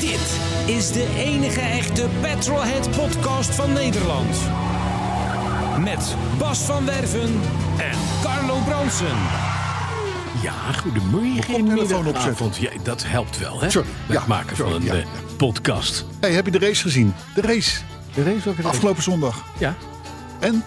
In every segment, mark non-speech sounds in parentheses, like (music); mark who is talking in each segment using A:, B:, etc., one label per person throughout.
A: Dit is de enige echte Petrolhead podcast van Nederland. Met Bas van Werven en Carlo Bronsen.
B: Ja, goedemorgen. Je telefoon opzetten. Ja, dat helpt wel, hè?
C: Sorry,
B: Bij
C: ja,
B: het maken
C: sorry,
B: van
C: ja,
B: een eh, podcast.
C: Hey, heb je de race gezien? De race.
B: De race ook
C: Afgelopen zondag.
B: Ja.
C: En?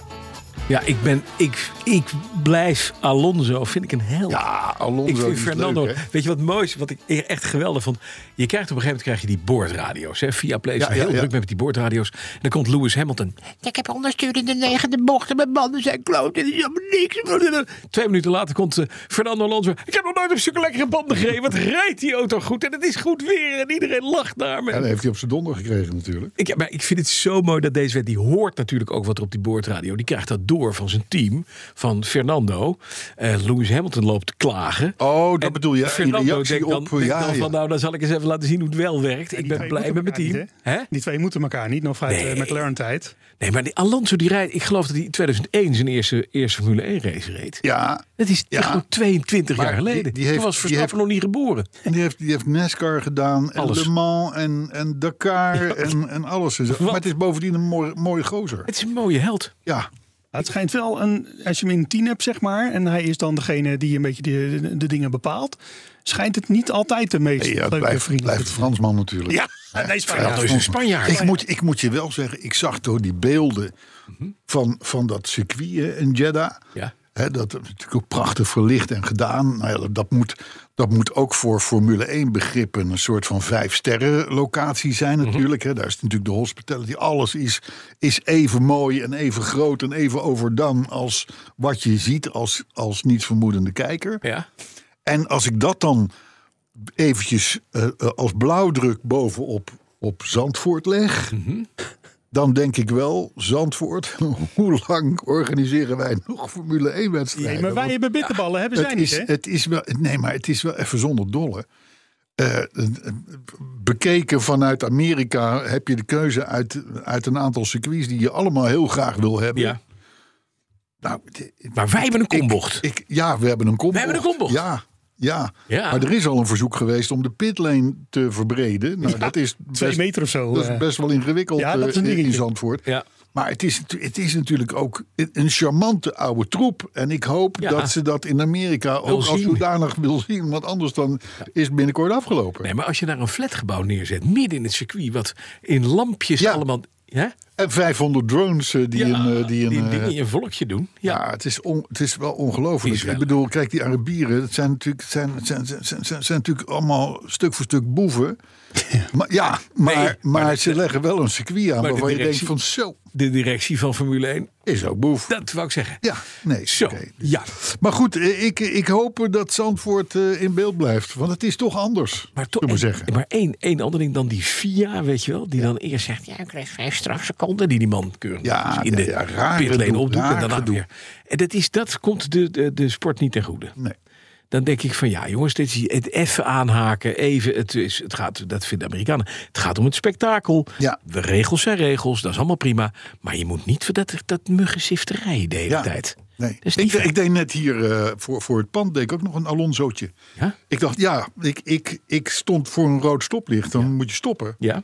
B: ja, ik ben... Ik, ik blijf Alonso, vind ik een held.
C: Ja, Alonso.
B: Ik
C: die
B: vind
C: is
B: Fernando,
C: leuk, hè?
B: weet je wat moois, wat ik e- echt geweldig vond? Je krijgt op een gegeven moment krijg je die boordradio's. Hè? Via Play is
C: Ja,
B: heel
C: ja, ja.
B: druk met die boordradio's. En dan komt Lewis Hamilton. Ik heb ondersturende negende bochten, mijn banden zijn kloot, dit is helemaal niks. Twee minuten later komt eh, Fernando Alonso. Ik heb nog nooit op zulke lekkere banden gereden. Wat rijdt die auto goed en het is goed weer en iedereen lacht naar me.
C: En dan heeft hij op zijn donder gekregen natuurlijk.
B: Ik, maar ik vind het zo mooi dat deze wet, die hoort natuurlijk ook wat er op die boordradio. Die krijgt dat door van zijn team, van Fernando. Eh, Lewis Hamilton loopt te klagen.
C: Oh, dat
B: En
C: bedoel je, in
B: Fernando
C: reactie
B: denkt dan,
C: op, eh,
B: denkt
C: ja,
B: dan van,
C: ja.
B: nou, dan zal ik eens even laten zien hoe het wel werkt. ik
D: die
B: ben
D: twee
B: blij met
D: moeten
B: mijn team.
D: elkaar niet,
B: Hè?
D: Die twee moeten elkaar niet, nog vanuit
B: Nee.
D: eh, McLaren-tijd.
B: Nee, maar die Alonso die rijdt, ik geloof dat hij in 2001 zijn eerste, eerste Formule 1 race reed.
C: Ja,
B: Dat is
C: Ja.
B: echt nog 22
C: Maar
B: jaar
C: die-
B: geleden.
C: die
B: Toen
C: heeft-
B: was
C: die
B: Verstappen nog niet geboren.
C: en die heeft, die heeft NASCAR gedaan. En
B: Alles.
C: Le Mans en, en Dakar en, en alles. En zo.
B: Wat?
C: Maar het is bovendien een mooi, mooie gozer.
B: Het is een mooie held.
C: Ja,
D: Het schijnt wel een, als je hem in een team hebt, zeg maar, en hij is dan degene die een beetje de, de, de dingen bepaalt, schijnt het niet altijd de meest
C: hey, ja
D: leuke
C: blijft,
D: vrienden.
C: blijft een Fransman natuurlijk.
D: Ja, nee, is fijn.
B: Fernando is een Spanjaard.
C: Ik moet, ik moet je wel zeggen, ik zag toch die beelden van, van dat circuit hè, in Jeddah.
B: Ja.
C: Hè, dat is natuurlijk ook prachtig verlicht en gedaan. Nou ja, dat- dat, moet, dat moet ook voor Formule 1 begrippen een soort van vijf sterren locatie zijn
B: Mhm.
C: natuurlijk. Hè. Daar is natuurlijk de hospitality. Alles is, is even mooi en even groot en even overdone als wat je ziet als, als nietsvermoedende kijker.
B: Ja.
C: En als ik dat dan eventjes eh, eh, als blauwdruk bovenop op Zandvoort leg...
D: Mhm.
C: dan denk ik wel, Zandvoort, (laughs) hoe lang organiseren wij nog Formule 1-wedstrijden?
D: Nee, maar wij hebben bitterballen, hebben zij
C: het
D: niet,
C: is,
D: hè?
C: het is wel, nee, maar het is wel even zonder dolle. Eh, eh, bekeken vanuit Amerika heb je de keuze uit, uit een aantal circuits die je allemaal heel graag wil hebben.
B: ja.
C: Nou, d-
B: Maar wij hebben een kombocht.
C: ik, ja, we hebben een kombocht.
B: hebben een kombocht.
C: Ja, ja.
B: Ja.
C: Maar er is al een verzoek geweest om de pitlane te verbreden. Nou, dat is
D: Twee
C: best,
D: meter of zo.
C: Dat is
D: eh.
C: best wel ingewikkeld
D: Ja, dat is een
C: eh, in- in
D: dingetje.
C: Zandvoort.
B: Ja.
C: Maar het is, natu- het is natuurlijk ook een- een charmante oude troep. En ik hoop
B: Ja.
C: dat ze dat in Amerika ook als
B: zien.
C: zodanig wil zien. Want anders dan is het binnenkort afgelopen.
B: Nee, maar als je daar een flatgebouw neerzet, midden in het circuit, wat in lampjes
C: Ja.
B: allemaal. Ja,
C: En 500 drones eh, die een... eh, die een
B: die
C: eh,
B: dingen in een volkje doen. Ja.
C: Ja, het is, on, het is wel
B: Die
C: ongelooflijk.
B: is wel-
C: Ik bedoel, kijk, die Arabieren, dat zijn natuurlijk, het zijn, het zijn, het zijn, het zijn, het zijn natuurlijk allemaal stuk voor stuk boeven.
B: (laughs)
C: Maar, ja, maar,
B: Nee,
C: maar,
B: maar dat-
C: ze leggen wel een circuit aan
B: de
C: waarvan je denkt
B: directie-
C: van zo,
B: De directie van Formule 1,
C: is ook boef.
B: dat wou ik zeggen.
C: Ja, nee.
B: Zo,
C: oké. dus-
B: ja.
C: Maar goed, eh, ik, ik hoop dat Zandvoort eh, in beeld blijft. Want het is toch anders,
B: Maar toch
C: zullen we
B: en-
C: zeggen.
B: Maar één, één ander ding dan die FIA, weet je wel, die dan eerst zegt: ja, ik krijg vijf strafseconden, die die man keurig
C: Ja,
B: netjes in
C: ja,
B: de
C: ja, raar
B: pitlane
C: gedoe,
B: opdoet en
C: raar
B: daarna
C: gedoe.
B: weer. En dat, is, dat komt de, de, de sport niet ten goede.
C: Nee.
B: Dan denk ik van ja, jongens, dit is het even aanhaken. Even, het, is, het gaat, dat vinden de Amerikanen. Het gaat om het spektakel.
C: Ja.
B: De regels zijn regels, dat is allemaal prima. Maar je moet niet voor dat, dat muggenzifterij de hele
C: Ja.
B: tijd. Dat
C: Nee.
B: is
C: Ik,
B: Dus niet
C: ik deed net hier eh, voor, voor het pand deed ik ook nog een Alonsootje.
B: Ja?
C: Ik dacht, ja, ik, ik, ik stond voor een rood stoplicht. Dan moet je stoppen.
B: Ja.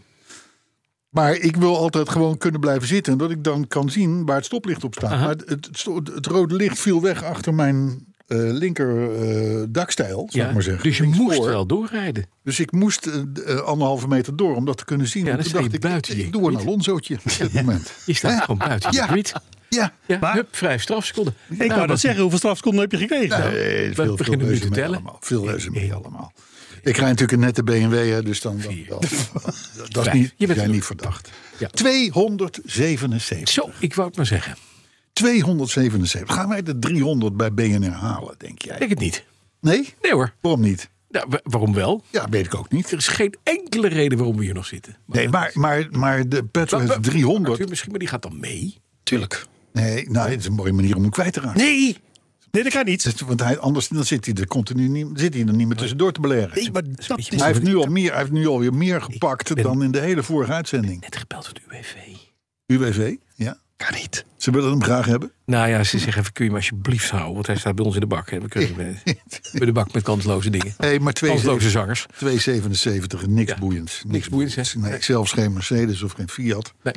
C: Maar ik wil altijd gewoon kunnen blijven zitten. Dat ik dan kan zien waar het stoplicht op staat. Maar het, het, sto- het rode licht viel weg achter mijn eh, linker eh, dakstijl, zou
B: ja.
C: ik maar zeggen.
B: Dus je
C: Linksvoor.
B: moest wel doorrijden.
C: Dus ik moest eh, d- eh, anderhalve meter door om dat te kunnen zien.
B: Ja,
C: En
B: dan
C: toen
B: sta je
C: dacht ik,
B: buiten
C: ik,
B: je
C: doe een Alonsootje
B: (laughs)
C: op dit moment.
B: Je staat
C: Hè?
B: gewoon buiten je
C: Ja.
B: gebied.
C: Ja.
B: Ja,
D: Maar-
B: hup, Nou, vijf strafseconden.
D: Ik wou dat zeggen, hoeveel strafseconden heb je gekregen?
C: Nee, veel, veel
B: beginnen nu te
C: reuze mee
B: tellen.
C: allemaal. Veel reuze mee allemaal. Ik rijd natuurlijk een nette BMW, hè, dus dan, dan, dan- dat- dat is
B: Vijf.
C: niet,
B: Je bent
C: jij
B: er-
C: niet verdacht.
B: Ja.
C: 277.
B: Zo, ik wou het maar zeggen.
C: 277. Gaan wij de 300 bij BNR halen, denk jij?
B: Ik denk het niet.
C: Nee?
B: Nee hoor.
C: Waarom niet?
B: Nou, wa- waarom wel?
C: Ja, weet ik ook niet.
B: Er is geen enkele reden waarom we hier nog zitten. Maar-
C: Nee, maar, maar, maar de
B: Wa- wa-
C: Petrolhead 300...
B: Arthur, misschien, maar die gaat dan mee.
D: Tuurlijk.
C: Nee, nou, dit is een mooie manier om hem kwijt te raken.
B: Nee!
D: Nee, dat kan niet.
C: Dat- Want hij, anders dan zit hij er continu niet, zit hij er niet meer tussendoor te beleren.
D: Nee, maar dat is...
C: hij, heeft nu al meer, hij heeft nu alweer meer gepakt
B: ben-
C: dan in de hele vorige uitzending.
B: Net gebeld door de UWV.
C: UWV, ja.
D: Kan niet.
C: Ze willen hem graag hebben. (laughs)
B: Nou ja, ze zeggen, even, kun je hem alsjeblieft houden? Want hij staat bij ons in de bak. Hè? We
D: (laughs)
B: kunnen hem, eh, bij de bak met kansloze dingen.
C: Hé, maar
B: Kansloze
C: 2,77,
B: zangers.
C: 2,77, niks
B: Ja.
C: boeiends.
B: Niks boeiends, hè?
C: Nee, zelfs geen Mercedes of geen Fiat.
B: Nee.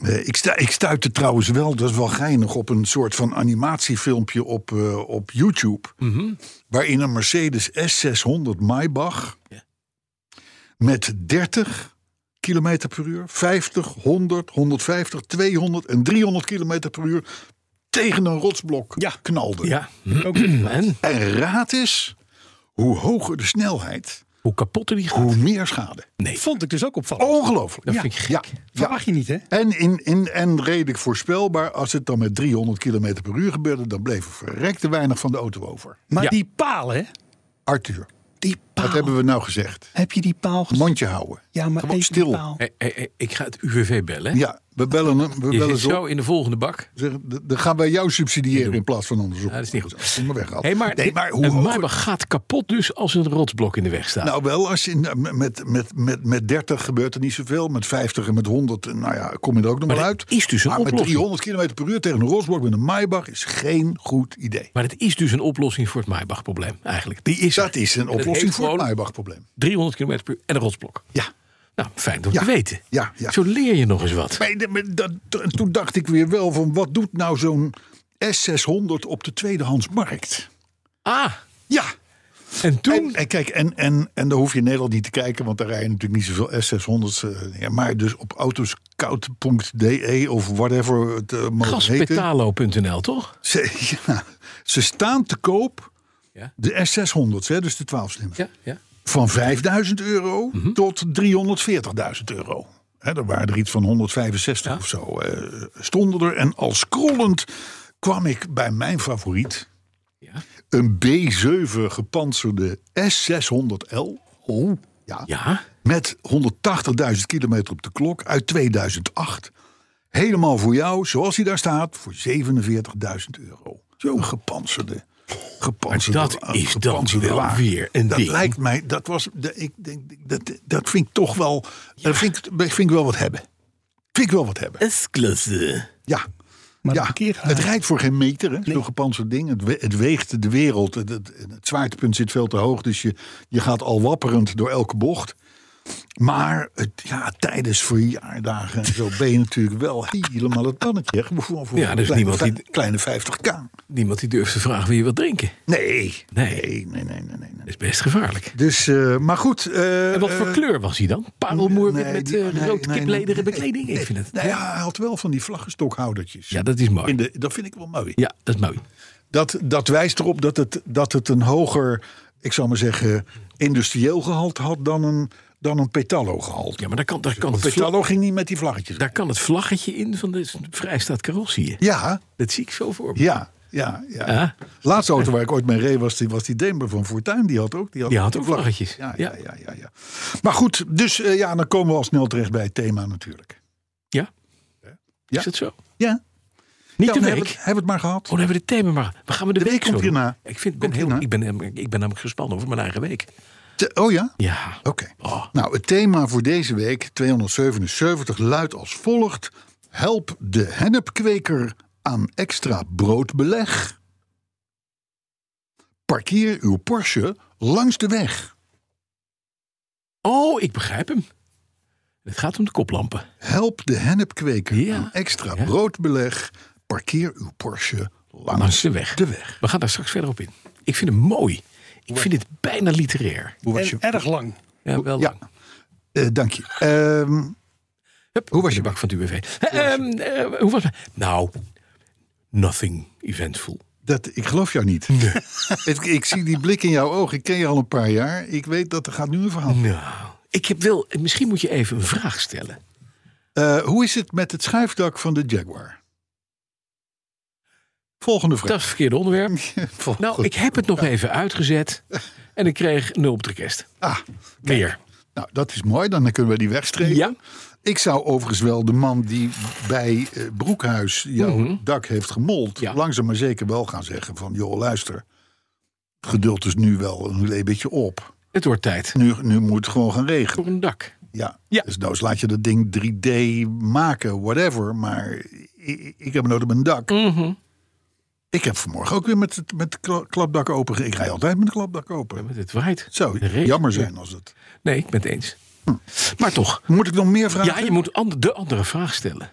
C: Eh, ik, sta, ik stuitte trouwens wel, dat is wel geinig, op een soort van animatiefilmpje op, eh, op YouTube.
B: Mhm.
C: Waarin een Mercedes S600 Maybach met 30 km per uur, 50, 100, 150, 200 en 300 km per uur tegen een rotsblok
D: Ja.
C: knalde.
B: Ja. (clears throat) En
C: En raad is, hoe hoger de snelheid,
B: hoe kapotter die gaat.
C: hoe meer schade.
D: Vond ik dus ook opvallend.
C: Ongelooflijk.
B: Dat vind ik gek.
C: Ja, Oh, ja.
D: Verwacht je niet, hè?
C: En, in, in, en redelijk voorspelbaar, als het dan met 300 km per uur gebeurde, dan bleef er verrekte weinig van de auto over.
D: Maar
B: Ja.
D: die paal, hè?
C: Arthur,
D: Die paal.
C: wat hebben we nou gezegd?
D: Heb je die paal gezien?
C: Mondje houden.
D: Ja, maar
C: Gewoon
D: even
C: stil.
D: die paal.
B: Hé, hé, hé, ik ga het UWV bellen. hè?
C: Ja, we bellen hem. We
B: Je
C: bellen
B: zit
C: zo.
B: zo in de volgende bak.
C: Zeggen, d- Dan gaan wij jou subsidiëren in plaats van andersom.
B: Ja, dat is niet goed.
C: Kom maar weg, Ad.
B: Hé, maar,
C: nee, maar hoe
B: een
C: hoger-
B: Maybach gaat kapot dus als een rotsblok in de weg staat.
C: Nou, wel, als je, nou, met, met, met, met 30 gebeurt er niet zoveel. Met 50 en met 100, nou ja, kom je er ook nog
B: Maar
C: wel
B: er
C: uit.
B: is dus een
C: maar met
B: oplossing.
C: 300 km per uur tegen een rotsblok met een Maybach is geen goed idee.
B: Maar het is dus een oplossing voor het Maybach-probleem eigenlijk. Die is er.
C: Dat is een
B: het
C: oplossing
B: heeft
C: voor het
B: gewoon-
C: Maybach-probleem.
B: 300 km per uur en een rotsblok.
C: Ja.
B: Nou, fijn om
C: Ja.
B: te weten.
C: Ja, ja.
B: Zo leer je nog eens wat.
C: Maar, de- maar dat, to- toen dacht ik weer wel van wat doet nou zo'n S600 op de tweedehandsmarkt?
B: Ah,
C: Ja.
B: en toen...
C: En, en kijk, en, en, en daar hoef je in Nederland niet te kijken, want daar rijden natuurlijk niet zoveel S600's. eh, ja, maar dus op autoscout.de e of whatever het eh, mag heten.
B: Gaspetalo.nl, toch?
C: Ze, (laughs) ja, ze staan te koop,
B: Ja.
C: de S600's, hè, dus de 12 slimmer.
B: Ja, ja.
C: van 5000 euro tot 340.000 euro. Hè, er waren er iets van 165 of zo eh, stonden er. En al scrollend kwam ik bij mijn favoriet.
B: Ja.
C: Een B7 gepantserde S600L. Oh. Ja,
B: Ja,
C: Met 180.000 kilometer op de klok uit 2008. Helemaal voor jou, zoals hij daar staat, voor 47.000 euro. Zo'n gepantserde. gepantserde
B: Maar dat is dan
C: gepantserde
B: wel
C: wagen.
B: weer een
C: dat
B: ding.
C: lijkt mij, dat was, de- ik denk, dat, dat vind ik toch wel, dat vind ik, dat vind ik wel wat hebben. Vind ik wel wat hebben.
B: S-klasse.
C: Ja.
D: Maar
C: Ja,
D: dat parkeergarage-
C: het rijdt voor geen meter, hè, zo'n gepantserd ding. Het, we- het weegt de wereld. Het, het, het zwaartepunt zit veel te hoog, dus je, je gaat al wapperend door elke bocht. Maar het, ja, tijdens verjaardagen en zo ben je natuurlijk wel helemaal het pannetje. hè. Voor, voor
B: Ja,
C: een
B: dus
C: kleine
B: niemand die-
C: vij- kleine 50k.
B: Niemand die durft te vragen wie je wilt drinken.
C: Nee,
B: Nee.
C: nee, nee, nee, nee. nee, nee.
B: Dat is best gevaarlijk.
C: Dus, eh, maar goed. eh,
B: En wat voor
C: eh,
B: kleur was hij dan? Parelmoer
C: nee,
B: met, met
C: die-
B: eh,
C: nee,
B: rood
C: nee,
B: kiplederen
C: nee,
B: bekleding? Ik vind het...
C: Nou ja, hij had wel van die vlaggenstokhoudertjes.
B: Ja, dat is mooi.
C: In de, dat vind ik wel mooi.
B: Ja, dat is mooi.
C: Dat, dat wijst erop dat het, dat het een hoger, ik zou maar zeggen, industrieel gehalte had dan een, dan een petalo gehalte.
B: Ja, maar daar kan, daar kan,
C: Want
B: het, vla-
C: petalo ging niet met die vlaggetjes.
B: daar kan het vlaggetje in van de Vrijstaat Carrossier.
C: Ja,
B: Dat zie ik zo voor me.
C: ja, ja. ja.
B: Ja.
C: Laatste auto waar ik ooit mee reed was die, was die Denver van Fortuin. Die had ook, die had
B: Die had
C: die
B: ook
C: Ja,
B: vlaggetjes.
C: ja, ja, ja, ja. Maar goed, dus eh, ja, dan komen we al snel terecht bij het thema natuurlijk.
B: Ja?
C: Ja.
B: Is dat zo?
C: Ja,
B: Niet
C: ja
B: de
C: we
B: week.
C: hebben, het- hebben het maar gehad.
B: Oh, dan hebben we het thema maar. We gaan we de,
C: De week komt
B: zo doen.
C: hierna.
B: Ik, vind, ik ben
C: Komt
B: heel,
C: hierna.
B: ik, ben, hem- ik ben namelijk gespannen over mijn eigen week.
C: Te- oh ja?
B: Ja.
C: Oké.
B: Oh.
C: Nou, het thema voor deze week, 277, luidt als volgt. Help de hennepkweker aan extra broodbeleg. Parkeer uw Porsche langs de weg.
B: Oh, ik begrijp hem. Het gaat om de koplampen.
C: Help de hennepkweker
B: Ja.
C: aan extra
B: Ja.
C: broodbeleg. Parkeer uw Porsche langs,
B: Langs de weg.
C: Ah. de weg.
B: We gaan daar straks verder op in. Ik vind hem mooi. Ik vind het bijna literair.
C: Hoe was
D: En
C: je?
D: erg lang.
B: Ja, wel
C: Ja,
B: lang.
C: Eh, dank je. Ehm,
B: Hup,
C: hoe was
B: de
C: je
B: bak van het UWV? Hè, ehm, eh, hoe was het? Nou, nothing eventful.
C: dat, ik geloof jou niet. (laughs) Het- ik zie die blik in jouw ogen. Ik ken je al een paar jaar. Ik weet dat er gaat nu een verhaal.
B: Nou, ik heb wel... Misschien moet je even een vraag stellen.
C: Eh, hoe is het met het schuifdak van de Jaguar? Volgende
B: Dat is
C: vraag.
B: het verkeerde
C: (laughs)
B: onderwerp.
C: Volgende.
B: Nou, ik heb het nog even uitgezet. En ik kreeg nul op de kerst.
C: Ah,
B: Weer.
C: nou, dat is mooi. Dan kunnen we die wegstrepen.
B: Ja.
C: Ik zou overigens wel de man die bij eh, Broekhuis jouw dak heeft gemold...
B: Mhm. Ja.
C: langzaam maar zeker wel gaan zeggen van... joh, luister, het geduld is nu wel een klein beetje op.
B: Het wordt tijd
C: Nu, nu moet het gewoon gaan regenen.
B: voor een dak.
C: Ja,
B: Ja.
C: dus nou laat je dat ding 3D maken, whatever. Maar ik, ik heb nodig op een dak.
B: Mhm.
C: Ik heb vanmorgen ook weer met het met het kla- klapdak open. ge- Ik rij altijd met het klapdak open.
B: Want Het waait.
C: Zo,
B: De regen.
C: jammer zijn als het.
B: Nee, ik ben het eens. Maar toch.
C: Moet ik nog meer
B: Ja,
C: vragen?
B: je moet and- de andere vraag stellen.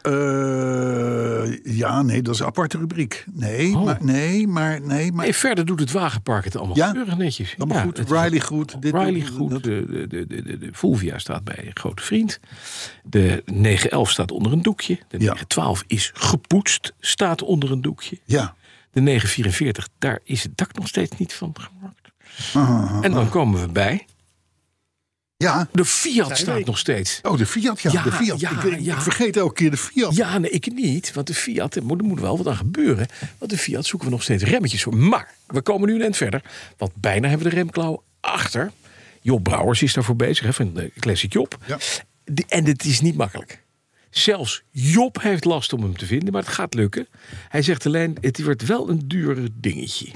C: Eh, ja, nee, dat is een aparte rubriek. Nee,
B: Oh.
C: maar, nee, maar, nee, maar.
B: Nee, verder doet het Wagenpark het allemaal
C: Ja,
B: keurig netjes.
C: allemaal
B: Ja,
C: goed.
B: het is-
C: Riley goed. Dit
B: Riley
C: doet-
B: goed.
C: dat-
B: De, de, de, de, de Fulvia staat bij een grote vriend. De 911 staat onder een doekje. De
C: Ja.
B: 912 is gepoetst, staat onder een doekje.
C: Ja,
B: De 944, daar is het dak nog steeds niet van gemaakt. En dan komen we bij.
C: ja.
B: De Fiat staat nog steeds.
C: Oh, de Fiat, ja.
B: Ja,
C: de Fiat.
B: ja,
C: ik, ik- ik
B: ja.
C: vergeet elke keer de Fiat.
B: Ja, nee, ik niet. Want de Fiat, er moet, er moet wel wat aan gebeuren. Want de Fiat zoeken we nog steeds remmetjes voor. Maar we komen nu een eind verder. Want bijna hebben we de remklauw achter. Job Brouwers is daarvoor bezig, hè, van de Classic Job.
C: Ja.
B: Die- en het is niet makkelijk. Zelfs Job heeft last om hem te vinden, maar het gaat lukken. Hij zegt alleen, het wordt wel een duur
C: (laughs)
B: dingetje.